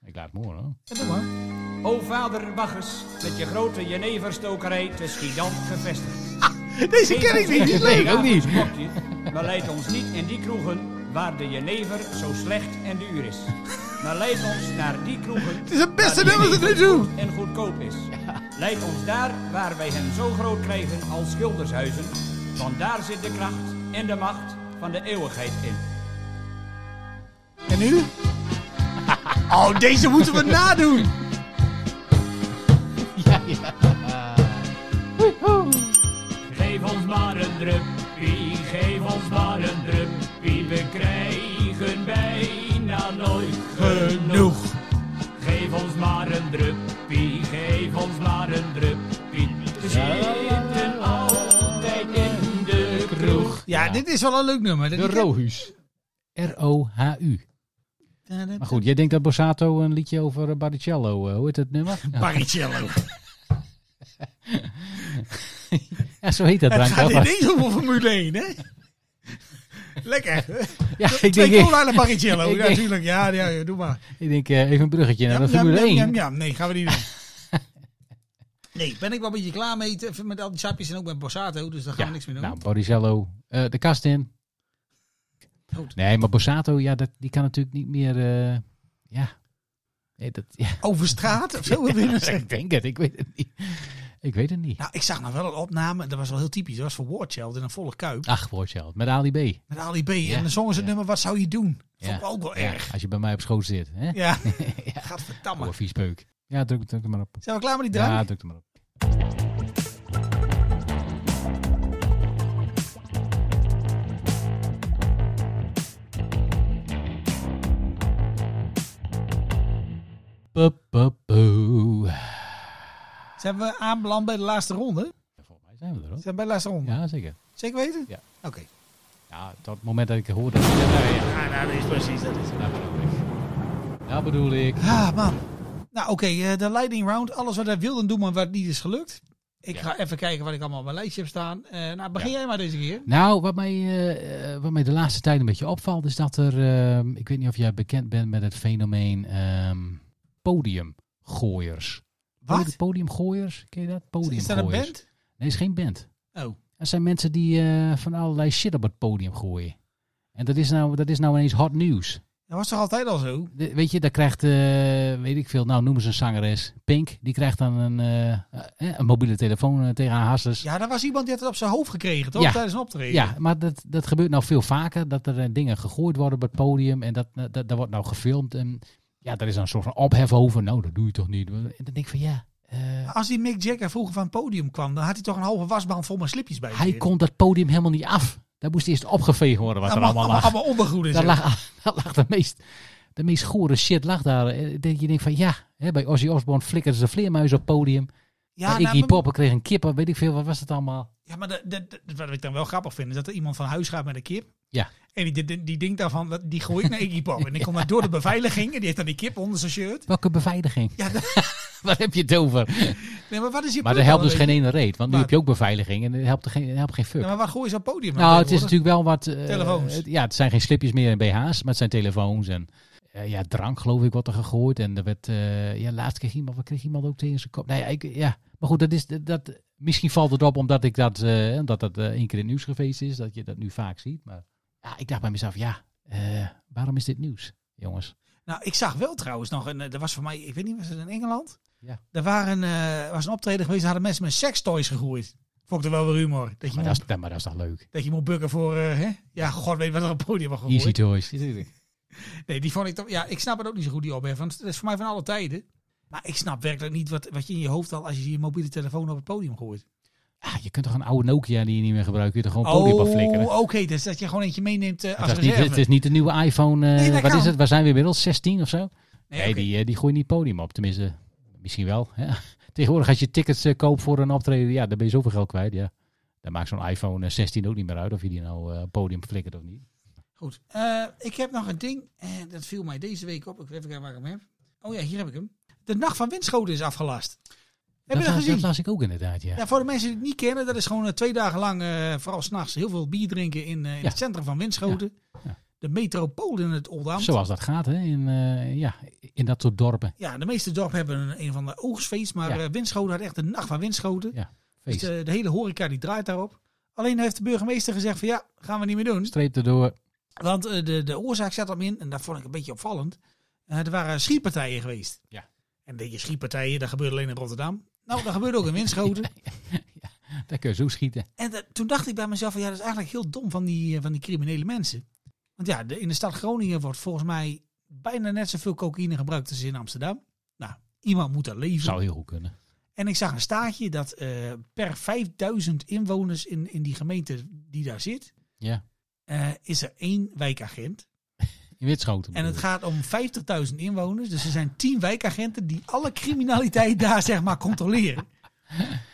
S1: Ik laat het horen hoor.
S2: Ja, doe maar.
S10: O vader Bacchus, met je grote jeneverstokerij te Schiedam gevestigd.
S2: Deze ken ik niet. die is leuk.
S1: ook niet.
S10: Kopje, maar leid ons niet in die kroegen waar de jenever zo slecht en duur is. Maar leid ons naar die kroegen
S2: Het is het beste
S10: waar
S2: nummer
S10: die
S2: dat we nu
S10: jenever
S2: doen.
S10: goed en goedkoop is. Leid ons daar waar wij hem zo groot krijgen als schildershuizen, want daar zit de kracht en de macht van de eeuwigheid in.
S2: En nu? Oh, deze moeten we nadoen.
S10: Geef ons maar een druppie, geef ons maar een druppie, we krijgen bijna nooit genoeg. Geef ons maar een druppie, geef ons maar een druppie, we zitten altijd in de kroeg.
S2: Ja, dit is wel een leuk nummer.
S1: De Rohuus. R-O-H-U. Maar
S2: Rood.
S1: goed, jij denkt dat Borsato een liedje over eh, Barrichello, eh, hoe heet dat nummer?
S2: Baricello.
S1: Ja, zo heet dat
S2: Het
S1: drankje.
S2: gaat
S1: wel.
S2: ineens over Formule 1, hè? Lekker.
S1: Ja, ik denk,
S2: Twee
S1: ik,
S2: cola en een Baricello,
S1: Ik
S2: ja,
S1: denk-
S2: natuurlijk. Ja, ja, ja, doe maar.
S1: denk eh, even een bruggetje naar
S2: Jam,
S1: de
S2: jam,
S1: Formule 1.
S2: jam, jam, jam. Nee, gaan we niet doen. Nee, ben ik wel een beetje klaar mee. te- Met al die sapjes en ook met Borsato, dus daar gaan
S1: Ja,
S2: we niks meer doen.
S1: Nou, Barrichello, eh, de kast in.
S2: Goed.
S1: Nee, maar Borsato, ja, dat, die kan natuurlijk niet meer... eh, ja. Nee, dat, ja.
S2: Over straat of zo. wil je nou zeggen?
S1: Dus ik denk het, ik weet het niet. Ik weet het niet.
S2: Nou, ik zag nog wel een opname. Dat was wel heel typisch. Dat was voor Warchild in een volle kuip.
S1: Ach, Borsato, met Ali B.
S2: Met Ali B.
S1: Ja,
S2: En dan zongen ze het
S1: ja.
S2: nummer Wat zou je doen?
S1: Ja,
S2: Vond ik ook wel
S1: Ja,
S2: erg.
S1: als je bij mij op schoot zit. Hè?
S2: Ja,
S1: Ja.
S2: gadverdamme.
S1: Oude viespeuk. Ja, druk, druk er maar op.
S2: Zijn we klaar met die
S1: Ja,
S2: drank?
S1: druk er maar op. Pu- pu- pu.
S2: Zijn we aanbeland bij de laatste ronde?
S1: Ja, Volgens mij zijn we er hoor.
S2: Zijn we bij de laatste ronde?
S1: Ja, zeker.
S2: Zeker weten?
S1: Ja.
S2: Oké.
S1: Ja, tot het moment dat ik hoorde. Ja, nou, ja,
S2: Ah, nou, dat is precies dat is.
S1: dat bedoel ik. Dat bedoel ik.
S2: Ah, man. Nou, oké. eh, de lightning round. Alles wat wij wilden doen, maar wat niet is gelukt. Ik
S1: Ja.
S2: ga even kijken wat ik allemaal op mijn lijstje heb staan. Eh, nou, begin jij maar deze keer.
S1: Nou, wat mij, eh, eh, wat mij de laatste tijd een beetje opvalt, is dat er. ehm, ik weet niet of jij bekend bent met het fenomeen ehm, podiumgooiers. Podi-
S2: Wat?
S1: Podiumgooiers? Ken je dat? Podiumgooiers.
S2: Is dat een band?
S1: Nee, is geen band.
S2: Oh.
S1: Er zijn mensen die eh, van allerlei shit op het podium gooien. En dat is nou, dat is nou ineens hot nieuws.
S2: Dat was toch altijd al zo?
S1: De- weet je, daar krijgt, eh, weet ik veel, nou noemen ze een zangeres, Pink, die krijgt dan een, eh, eh, een mobiele telefoon eh, tegen haar hasters.
S2: Ja, er was iemand die had het op zijn hoofd gekregen, toch?
S1: Ja.
S2: Tijdens een optreden.
S1: Ja, maar dat, dat gebeurt nou veel vaker. Dat er eh, dingen gegooid worden op het podium. En dat, dat, dat wordt nou gefilmd. En ja, daar is dan een soort van ophef over. Nou, dat doe je toch niet. En dan denk ik van ja. eh,
S2: Als die Mick Jagger vroeger van het podium kwam, dan had hij toch een halve wasband vol met slipjes bij zich.
S1: hij kon dat podium helemaal niet af. Daar moest eerst opgeveegd worden wat
S2: Dat
S1: er
S2: mag
S1: allemaal lag.
S2: allemaal ondergoed en
S1: Daar
S2: zo.
S1: lag, daar lag de meest de meest gore shit lag daar. Eh, dat Je denkt van ja, hè, bij Ozzy Osbourne flikkerden ze de vleermuis op het podium.
S2: Ja,
S1: Ja,
S2: nou,
S1: ik die
S2: maar-
S1: poppen kreeg een kippen, weet ik veel, wat was het allemaal?
S2: Ja, maar de, de- de- wat ik dan wel grappig vind, is dat er iemand van huis gaat met een kip.
S1: Ja.
S2: En die, die, die denkt daarvan, dat- die gooi ik naar Iggy Pop. En die komt dan door de beveiliging en die heeft dan die kip onder zijn shirt.
S1: Welke beveiliging?
S2: Ja, dat-
S1: Waar heb je het over?
S2: nee, maar wat is je
S1: Maar dat
S2: punt
S1: helpt
S2: dan
S1: dus
S2: een
S1: geen
S2: beetje?
S1: ene reet, want nu
S2: Maar-
S1: heb je ook beveiliging en dat helpt, er geen, dat helpt geen fuck.
S2: Ja, maar waar gooi je zo'n podium
S1: nou, het is natuurlijk wel wat... eh,
S2: Telefoons.
S1: het- ja, het zijn geen slipjes meer in BH's, maar het zijn telefoons en eh, ja, drank geloof ik wat er gegooid. En er werd, eh, ja, laatst kreeg iemand, wat kreeg iemand ook tegen zijn kop? Nou ja, ik, ja. maar goed, dat is, dat, dat- misschien valt het op omdat ik dat, eh, omdat dat eh, één keer in het nieuws geweest is, dat je dat nu vaak ziet. Maar ja, ik dacht bij mezelf, ja, eh, waarom is dit nieuws, jongens?
S2: Nou, ik zag wel trouwens nog, een, eh, er was voor mij, ik weet niet, was het in Engeland?
S1: Ja.
S2: Er waren, eh, was een optreden geweest, daar hadden mensen met sekstoys gegooid. Vond ik er wel weer humor. Dat je,
S1: Maar
S2: moet,
S1: dat, is, maar dat is toch leuk?
S2: dat je moet bukken voor, eh, hè? ja, god weet wat er op het podium was gegooid.
S1: Easy toys.
S2: Nee, die vond ik toch. Ja, ik snap het ook niet zo goed, die ophef. Want dat is voor mij van alle tijden. Maar ik snap werkelijk niet wat, wat je in je hoofd al als je je mobiele telefoon op het podium gooit.
S1: Ah, je kunt toch een oude Nokia die je niet meer gebruikt, kun je er gewoon
S2: Oh,
S1: podium op flikkeren.
S2: oké. dus dat je gewoon eentje meeneemt eh, als
S1: Het, is niet,
S2: reserve.
S1: het is niet de nieuwe iPhone. eh,
S2: Nee, dat
S1: wat
S2: kan.
S1: is het? Waar zijn we inmiddels? 16 of zo? Nee,
S2: nee, oké.
S1: die, eh, die gooi je niet podium op. Tenminste, misschien wel. Ja. Tegenwoordig als je tickets eh, koopt voor een optreden, ja, dan ben je zoveel geld kwijt. Ja. Dan maakt zo'n iPhone eh, 16 ook niet meer uit of je die nou eh, podium flikkert of niet.
S2: Goed. Eh, ik heb nog een ding. en dat viel mij deze week op. Ik weet even kijken waar ik hem heb. Oh ja, hier heb ik hem. De Nacht van Windschoten is afgelast. Heb
S1: dat,
S2: je dat
S1: la-
S2: gezien?
S1: dat las ik ook inderdaad, ja.
S2: Ja, voor de mensen die het niet kennen, dat is gewoon eh, twee dagen lang, eh, vooral s'nachts, heel veel bier drinken in, eh, in
S1: Ja.
S2: het centrum van Winschoten.
S1: Ja.
S2: De metropool in het Oldambt.
S1: Zoals dat gaat, hè. In, eh, ja, in dat soort dorpen.
S2: Ja, de meeste dorpen hebben een, een van de oogstfeest, maar
S1: Ja.
S2: eh, Winschoten had echt een nacht van Winschoten.
S1: Ja,
S2: dus
S1: feest.
S2: de, de hele horeca die draait daarop. Alleen heeft de burgemeester gezegd van ja, gaan we niet meer doen.
S1: Streep erdoor.
S2: Want eh, de, de oorzaak zat hem in, en dat vond ik een beetje opvallend. Eh, er waren schietpartijen geweest.
S1: Ja.
S2: En weet je, schietpartijen, dat gebeurde alleen in Rotterdam. Nou, dat gebeurde ook in Winschoten.
S1: Daar kun je zo schieten.
S2: En dat- toen dacht ik bij mezelf, van, ja, dat is eigenlijk heel dom van die, eh, van die criminele mensen. Want ja, de, in de stad Groningen wordt volgens mij bijna net zoveel cocaïne gebruikt als in Amsterdam. Nou, iemand moet daar leven.
S1: Zou heel goed kunnen.
S2: En ik zag een staatje dat eh, per 5000 inwoners in, in die gemeente die daar zit,
S1: Ja.
S2: eh, is er één wijkagent.
S1: In Witschoten.
S2: En het
S1: bedoel ik.
S2: gaat om 50.000 inwoners. Dus er zijn 10 wijkagenten die alle criminaliteit daar zeg maar controleren.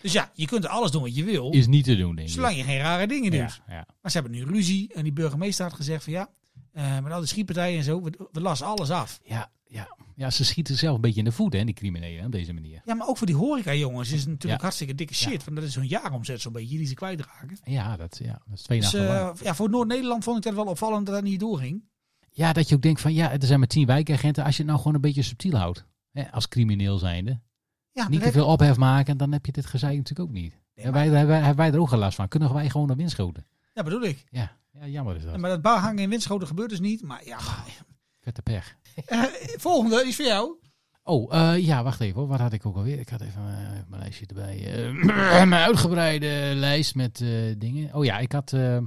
S2: Dus ja, je kunt er alles doen wat je wil,
S1: Is niet te doen, denk ik.
S2: zolang je geen rare dingen doet.
S1: ja, ja.
S2: Maar ze hebben nu ruzie en die burgemeester had gezegd van ja, eh, met al die schietpartijen en zo, we, we lassen alles af.
S1: Ja, ja. ja, ze schieten zelf een beetje in de voet, hè, die criminelen, op deze manier.
S2: Ja, maar ook voor die horeca jongens is het natuurlijk
S1: Ja.
S2: hartstikke dikke shit. Want dat is zo'n jaaromzet zo'n beetje die ze kwijtraken.
S1: Ja, dat, ja, dat is twee
S2: Dus
S1: nachten
S2: eh,
S1: lang.
S2: ja, voor Noord-Nederland vond ik dat wel opvallend dat dat niet doorging.
S1: Ja, dat je ook denkt van, ja, er zijn maar tien wijkagenten. Als je het nou gewoon een beetje subtiel houdt, hè, als crimineel zijnde.
S2: Ja,
S1: Niet
S2: dat
S1: te veel ophef maken, dan heb je dit gezeik natuurlijk ook niet.
S2: Nee,
S1: en wij, hebben, hebben wij er ook geen last van. Kunnen wij gewoon naar winst schoten?
S2: heb- ja, bedoel ik.
S1: Ja. ja, jammer is dat.
S2: Maar dat barhangen in Winschoten gebeurt dus niet. Maar ja, maar-
S1: Vette pech.
S2: Eh, volgende is voor jou.
S1: Oh, eh, ja, wacht even hoor. Wat had ik ook alweer? Ik had even eh, mijn lijstje erbij. eh, mijn uitgebreide lijst met eh, dingen. Oh ja, ik had... eh,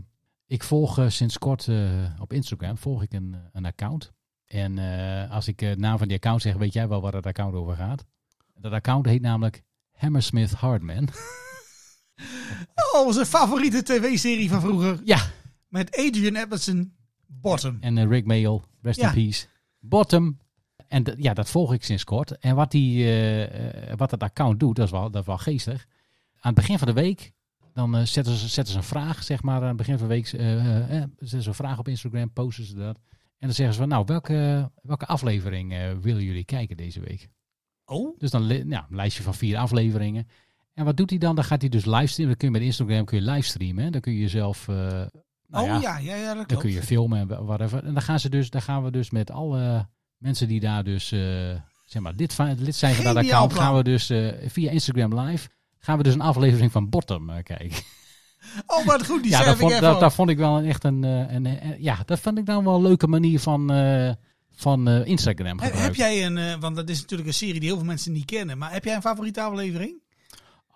S1: ik volg eh, sinds kort eh, op Instagram volg ik een, eh, een account. En eh, als ik eh, de naam van die account zeg, weet jij wel waar dat account over gaat. Dat account heet namelijk Hammersmith Hardman.
S2: Oh, onze favoriete tv-serie van vroeger.
S1: ja,
S2: Met Adrian Edmondson Bottom.
S1: en eh, Rick Mail, rest
S2: Ja.
S1: in peace. Bottom. En dat- ja, dat volg ik sinds kort. En wat, die, eh, eh, wat dat account doet, dat is, wel, dat is wel geestig. Aan het begin van de week, dan eh, zetten, ze, zetten ze een vraag, zeg maar. Aan het begin van de week eh, eh, eh, zetten ze een vraag op Instagram, posten ze dat. En dan zeggen ze van, nou, welke, welke aflevering eh, willen jullie kijken deze week?
S2: Oh,
S1: Dus dan li- nou, een lijstje van vier afleveringen. En wat doet hij dan? Dan gaat hij dus livestreamen. Dan kun je met Instagram kun je livestreamen. Hè? Dan kun je jezelf... eh, nou
S2: oh ja, ja, ja, dat
S1: dan
S2: klopt.
S1: kun je filmen en wa- whatever. En dan gaan, ze dus, dan gaan we dus met alle mensen die daar dus, eh, zeg maar, dit va- lid zijn van dat
S2: Geniaal
S1: account,
S2: plan.
S1: gaan we dus eh, via Instagram Live, gaan we dus een aflevering van Bottom eh, kijken.
S2: Oh, wat goed, die
S1: ja,
S2: schrijf
S1: dat
S2: ik
S1: vond,
S2: even
S1: dat,
S2: op.
S1: dat vond ik wel een- echt een, eh, een, eh, ja, dat vond ik dan wel een leuke manier van, eh, van eh, Instagram
S2: Heb,
S1: gebruiken.
S2: heb jij een, eh, want dat is natuurlijk een serie die heel veel mensen niet kennen, maar heb jij een favoriete aflevering?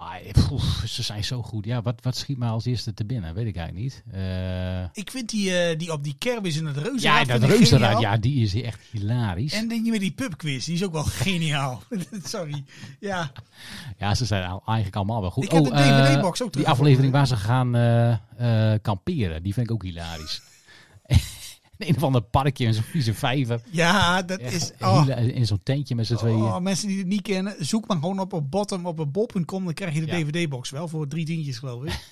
S1: Ah, eh, poef, ze zijn zo goed. Ja, wat, wat schiet mij als eerste te binnen? Weet ik eigenlijk niet. Eh,
S2: Ik vind die, eh, die op die kermis in het reuzenrad.
S1: ja, dat
S2: vind ik
S1: reuzenrad,
S2: geniaal.
S1: ja, die is echt hilarisch.
S2: En die met die pubquiz, die is ook wel geniaal. Sorry. Ja,
S1: Ja, ze zijn al- eigenlijk allemaal wel goed.
S2: Ik heb de DVD
S1: eh,
S2: box ook
S1: Die
S2: teruggevonden.
S1: aflevering waar ze gaan eh, eh, kamperen, die vind ik ook hilarisch. een of ander parkje in zo'n vieze vijver.
S2: Ja, dat
S1: Echt,
S2: is...
S1: hele-
S2: Oh,
S1: In zo'n tentje met z'n tweeën.
S2: oh, mensen die het niet kennen, zoek maar gewoon op op bottom op een bol.com. Dan krijg je
S1: Ja.
S2: de DVD-box wel voor drie tientjes, geloof ik.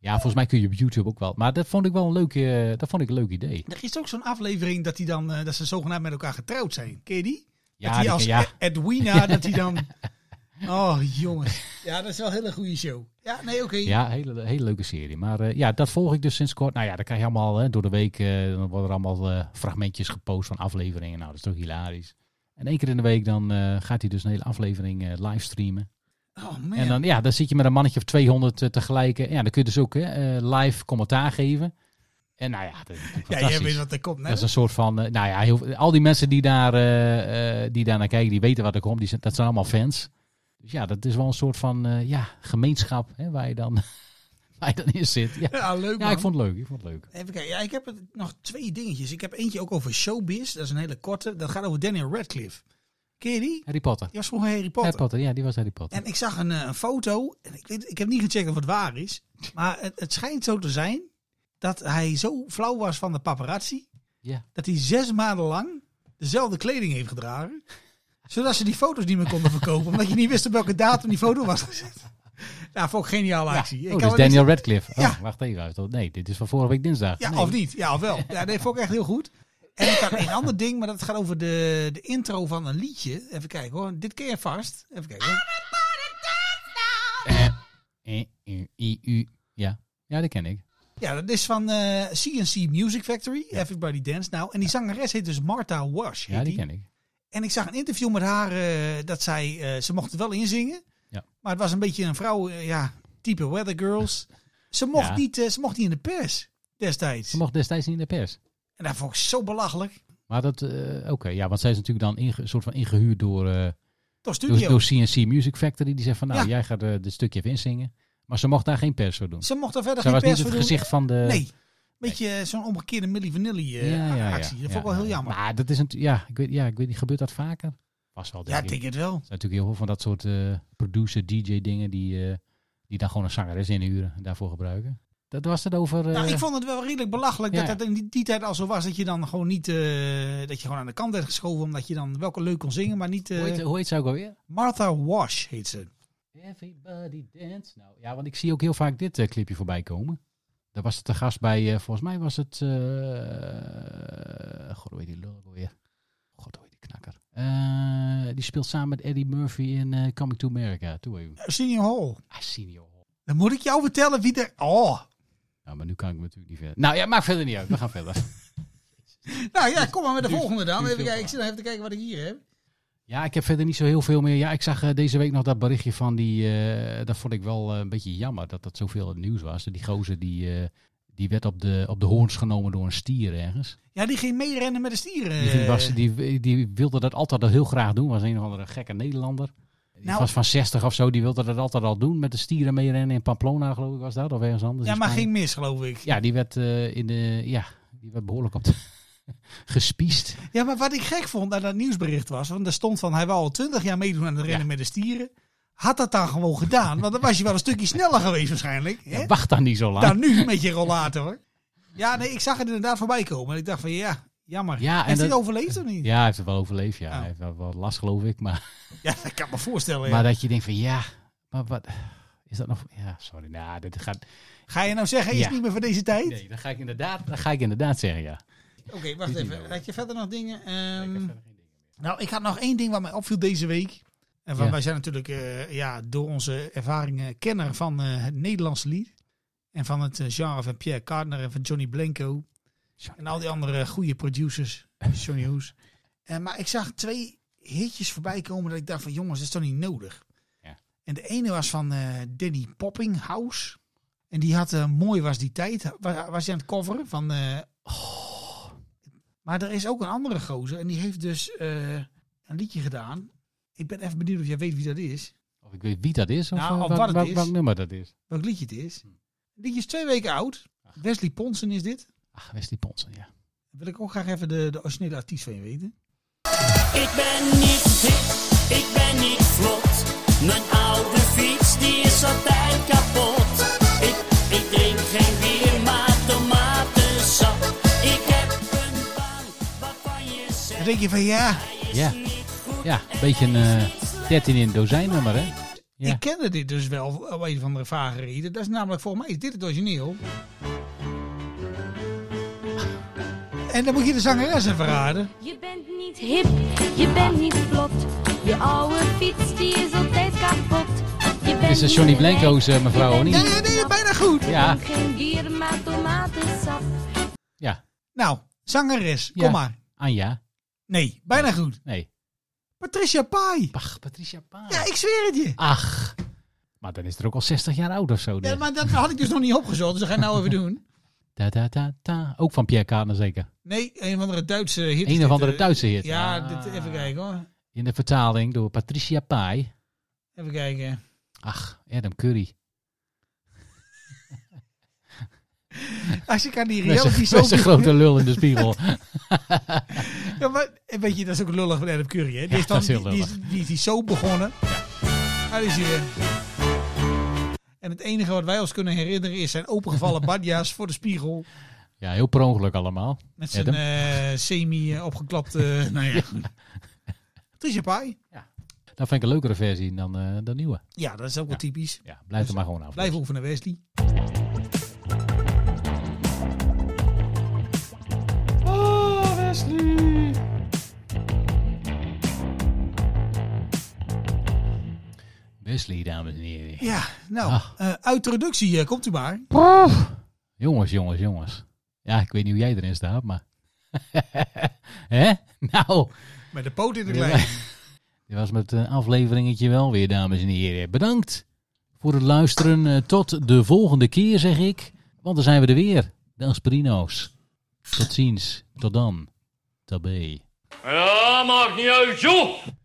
S1: Ja, volgens mij kun je op YouTube ook wel. Maar dat vond ik wel een leuk, eh, dat vond ik een leuk idee.
S2: Er is ook zo'n aflevering dat, die dan, eh, dat ze zogenaamd met elkaar getrouwd zijn. Ken je die?
S1: Ja,
S2: dat die
S1: die
S2: als
S1: ken- ja.
S2: Ed- Edwina, dat die dan... Oh, jongens. Ja, dat is wel een hele goede show. Ja, nee, oké.
S1: Ja, hele, hele leuke serie. Maar eh, ja, dat volg ik dus sinds kort. Nou ja, dan krijg je allemaal hè, door de week. eh, dan worden er allemaal eh, fragmentjes gepost van afleveringen. Nou, dat is toch hilarisch. En één keer in de week dan eh, gaat hij dus een hele aflevering eh livestreamen.
S2: Oh, man.
S1: En dan, ja, dan zit je met een mannetje of 200 eh, tegelijk. eh, Ja, dan kun je dus ook hè, eh, live commentaar geven. En nou ja, dat is natuurlijk
S2: ja, jij
S1: fantastisch.
S2: weet wat er komt. Hè?
S1: Dat is een soort van, eh, nou ja, heel, veel- al die mensen die daar, eh, eh, die daar naar kijken, die weten wat er komt. Die zijn, dat zijn allemaal fans. Dus ja, dat is wel een soort van eh, ja, gemeenschap hè, waar, je dan, waar je dan in zit. Ja,
S2: Ja, leuk man.
S1: ja ik vond het leuk. Ik vond het leuk.
S2: Even kijken. Ja, ik heb het- nog twee dingetjes. Ik heb eentje ook over showbiz. Dat is een hele korte. Dat gaat over Daniel Radcliffe. Ken je die?
S1: Harry Potter.
S2: Die was vroeger Harry Potter.
S1: Harry Potter, ja, die was Harry Potter.
S2: En ik zag een, eh, een foto. En ik, weet, ik heb niet gecheckt of het waar is. Maar het, het schijnt zo te zijn dat hij zo flauw was van de paparazzi.
S1: Ja.
S2: Dat hij zes maanden lang dezelfde kleding heeft gedragen. Zodat ze die foto's niet meer konden verkopen. omdat je niet wist op welke datum die foto was gezet. Nou, vond ik een geniale
S1: Ja.
S2: actie. Ik
S1: Oh,
S2: kan
S1: dus
S2: wel niks-
S1: Daniel Radcliffe. Oh,
S2: Ja.
S1: wacht even. uit. Nee, dit is van vorige week dinsdag.
S2: Ja,
S1: Nee.
S2: of niet. Ja, of wel. Ja, dat vond ik echt heel goed. En ik had een ander ding, maar dat gaat over de, de intro van een liedje. Even kijken hoor. Dit ken je vast. Even kijken. hoor.
S1: Eh, eh, i, u. Ja. ja, dat ken ik.
S2: Ja, dat is van eh, CNC Music Factory. Everybody Dance Now. En die zangeres heet dus Martha Wash. heet
S1: Ja, die ken ik.
S2: En ik zag een interview met haar eh, dat zij, eh, ze mocht het wel inzingen.
S1: Ja.
S2: Maar het was een beetje een vrouw, eh, ja, type Weather Girls. Ze mocht,
S1: Ja.
S2: niet, eh, ze mocht niet in de pers destijds.
S1: Ze mocht destijds niet in de pers.
S2: En dat vond ik zo belachelijk.
S1: Maar dat, eh, oké, ja, want zij is natuurlijk dan inge- soort van ingehuurd door... eh,
S2: Toch
S1: Door,
S2: studio.
S1: door CNC Music Factory. Die zegt van nou,
S2: Ja.
S1: jij gaat eh dit stukje even insingen. Maar ze mocht daar geen pers voor doen.
S2: Ze mocht er verder
S1: Zij
S2: geen
S1: was niet
S2: pers
S1: het
S2: voor doen.
S1: gezicht van de...
S2: Nee. Beetje eh, zo'n omgekeerde Milli Vanilli eh, actie. Dat vond ik wel
S1: ja.
S2: heel jammer.
S1: Maar dat is een, ja, ik weet, ja, ik weet niet, gebeurt dat vaker? Pas wel, denk
S2: ja,
S1: ik.
S2: ik denk het wel.
S1: Er zijn natuurlijk heel veel van dat soort eh, producer, DJ dingen die, eh, die dan gewoon een zangeres inhuren en daarvoor gebruiken. Dat was het over... eh,
S2: nou, ik vond het wel redelijk belachelijk
S1: ja,
S2: dat dat in die, die tijd al zo was. Dat je dan gewoon niet, eh, dat je gewoon aan de kant werd geschoven. Omdat je dan welke leuk kon zingen, maar niet... eh,
S1: hoe, heet, hoe heet ze ook alweer?
S2: Martha Wash heet ze.
S1: Everybody dance. Nou, ja, want ik zie ook heel vaak dit eh, clipje voorbij komen. Daar was het te gast bij, eh, volgens mij was het... eh, God, hoe heet die lul ook alweer? God, hoe heet die knakker? Eh, die speelt samen met Eddie Murphy in eh, Coming to America. eh, ah, Toen even.
S2: Eh, Senior Hall.
S1: Arsenio.
S2: Dan moet ik jou vertellen wie er... Oh,
S1: Nou, maar nu kan ik me natuurlijk niet verder. Nou ja, maakt verder niet uit. We gaan verder.
S2: nou ja, kom maar met de
S1: Duurt-
S2: volgende dan.
S1: duurt
S2: Even
S1: heel
S2: kijken,
S1: lang.
S2: ik zit even te kijken wat ik hier heb.
S1: Ja, ik heb verder niet zo heel veel meer. Ja, ik zag eh, deze week nog dat berichtje van die. eh, dat vond ik wel eh, een beetje jammer dat dat zoveel in het nieuws was. Die gozer die, eh, die werd op de, op de hoorns genomen door een stier ergens.
S2: Ja, die ging meerennen met de stieren.
S1: Die, ging- was, die, die wilde dat altijd al heel graag doen. Was een of andere gekke Nederlander. Die
S2: Nou.
S1: was van 60 of zo. Die wilde dat altijd al doen. Met de stieren meerennen in Pamplona, geloof ik, was dat. Of ergens anders.
S2: ja,
S1: in
S2: maar
S1: Spanje.
S2: ging mis, geloof ik.
S1: Ja, die werd, eh, in de, ja, die werd behoorlijk op de... gespiest.
S2: Ja, maar wat ik gek vond aan dat nieuwsbericht was, want er stond van hij wou al twintig jaar meedoen aan het rennen
S1: Ja.
S2: met de stieren. Had dat dan gewoon gedaan, want dan was je wel een stukje sneller geweest waarschijnlijk. Hè?
S1: Ja, wacht dan niet zo lang.
S2: dan Nou, nu met je rollator. Ja, nee, ik zag het inderdaad voorbij komen en ik dacht van ja, jammer.
S1: Ja, en
S2: Heeft hij
S1: dat-
S2: het overleefd of niet? Ja.
S1: Ja, hij heeft het wel overleefd. Ja.
S2: Oh.
S1: Hij heeft wel wat last, geloof ik. Maar,
S2: dat kan ik me voorstellen. ja.
S1: maar dat je denkt van ja, maar wat... Is dat nog... Ja, sorry. Nou, dit gaat...
S2: Ga je nou zeggen, hij
S1: Ja.
S2: is niet meer van deze tijd?
S1: Nee, dat ga ik inderdaad, dat ga ik inderdaad zeggen, ja.
S2: Oké, wacht
S1: Dit is
S2: even.
S1: wel-
S2: Had je verder nog dingen? Ehm, Nou, ik had nog één ding wat mij opviel deze week. En van,
S1: Ja.
S2: Wij zijn natuurlijk eh, ja, door onze ervaringen kenner van eh, het Nederlandse lied. En van het eh, genre van Pierre Cardner en van Johnny Blanco.
S1: Johnny
S2: en al die andere goede producers. Johnny Hoes. Eh, maar ik zag twee hitjes voorbij komen dat ik dacht van jongens, dat is toch niet nodig.
S1: Ja.
S2: En de ene was van eh, Danny Poppinghouse. En die had eh, Mooi was die tijd. Wa- Was hij aan het coveren van... eh, oh. Maar er is ook een andere gozer. En die heeft dus eh, een liedje gedaan. Ik ben even benieuwd of jij weet wie dat is.
S1: Of ik weet wie dat is, of,
S2: Nou,
S1: eh,
S2: of
S1: welk-
S2: wat het
S1: welk-
S2: is.
S1: welk nummer dat is.
S2: Welk liedje het is. Het liedje is twee weken oud. Wesley Ponsen is dit.
S1: Ach, Wesley Ah, Ponsen, ja.
S2: Dan wil ik ook graag even de, de originele artiest van je weten.
S5: Ik ben niet dik, ik ben niet vlot. Mijn oude fiets die is altijd kapot. Ik, ik drink geen bier, maar tomatensap. Ik heb een
S2: denk je van ja,
S1: Ja. Ja, een beetje een eh 13 in dozijn nummer, hè? Ja.
S2: ik kende dit dus wel op een of andere vage reden. Dat is namelijk volgens mij is dit het origineel. En dan moet je de zangeres even raden.
S8: Je bent niet hip, je bent niet vlot. Je oude fiets die is altijd kapot. Je bent
S1: Is dat Johnny
S8: niet rijk,
S1: Blanco's eh, mevrouw of
S2: Ja,
S1: niet?
S2: ja, nee, bijna goed.
S1: Ja,
S8: drink Geen bier, maar tomatensap.
S1: ja.
S2: Nou, zangeres,
S1: Ja.
S2: kom maar.
S1: Anja.
S2: Nee, bijna goed.
S1: Nee.
S2: Patricia Pai.
S1: Pach, Patricia Paas.
S2: Ja, ik zweer het je.
S1: Ach. Maar dan is er ook al 60 jaar oud of zo.
S2: Ja,
S1: dus.
S2: maar dat had ik dus nog niet opgezocht, dus dat ga je nou even doen.
S1: Da, da, da, da. Ook van Pierre Kaarten zeker.
S2: Nee, een of andere Duitse hit. eh,
S1: Een of andere Duitse hit.
S2: Ja,
S1: Ah.
S2: dit, even kijken hoor.
S1: In de vertaling door Patricia Pai.
S2: Even kijken.
S1: Ach, Adam Curry.
S2: Als ik aan die
S1: Dat
S2: reality
S1: is een- dat is een
S2: show...
S1: grote lul in de spiegel.
S2: Ja, maar, en weet je, dat is ook lullig van Adam Curry, hè? Die is dan,
S1: dat is heel
S2: die, die, is, die is die zo begonnen. Daar is hij weer. En het enige wat wij ons kunnen herinneren is zijn opengevallen badjas voor de spiegel.
S1: ja, heel per ongeluk allemaal.
S2: Met zijn
S1: Adam?
S2: eh, semi-opgeklapte... nou ja. Patricia Pai.
S1: Dat Nou, vind ik een leukere versie dan eh de nieuwe.
S2: Ja, dat is ook wel typisch.
S1: Ja, Dus- blijf er maar gewoon af.
S2: Blijf oefenen, Wesley.
S1: Wesley, dames en heren.
S2: Ja, nou,
S1: Ah.
S2: eh, uit de reductie eh, komt u maar.
S1: Jongens, jongens, jongens. Ja, ik weet niet hoe jij erin staat, maar... Hè? Nou,
S2: Met de poot in de
S1: Ja,
S2: klei.
S1: dit was met een afleveringetje wel weer, dames en heren. Bedankt voor het luisteren. Eh, Tot de volgende keer, zeg ik. Want dan zijn we er weer. De Asperino's. Tot ziens. Tot dan. Tabé.
S4: Ja, maakt niet uit, joh!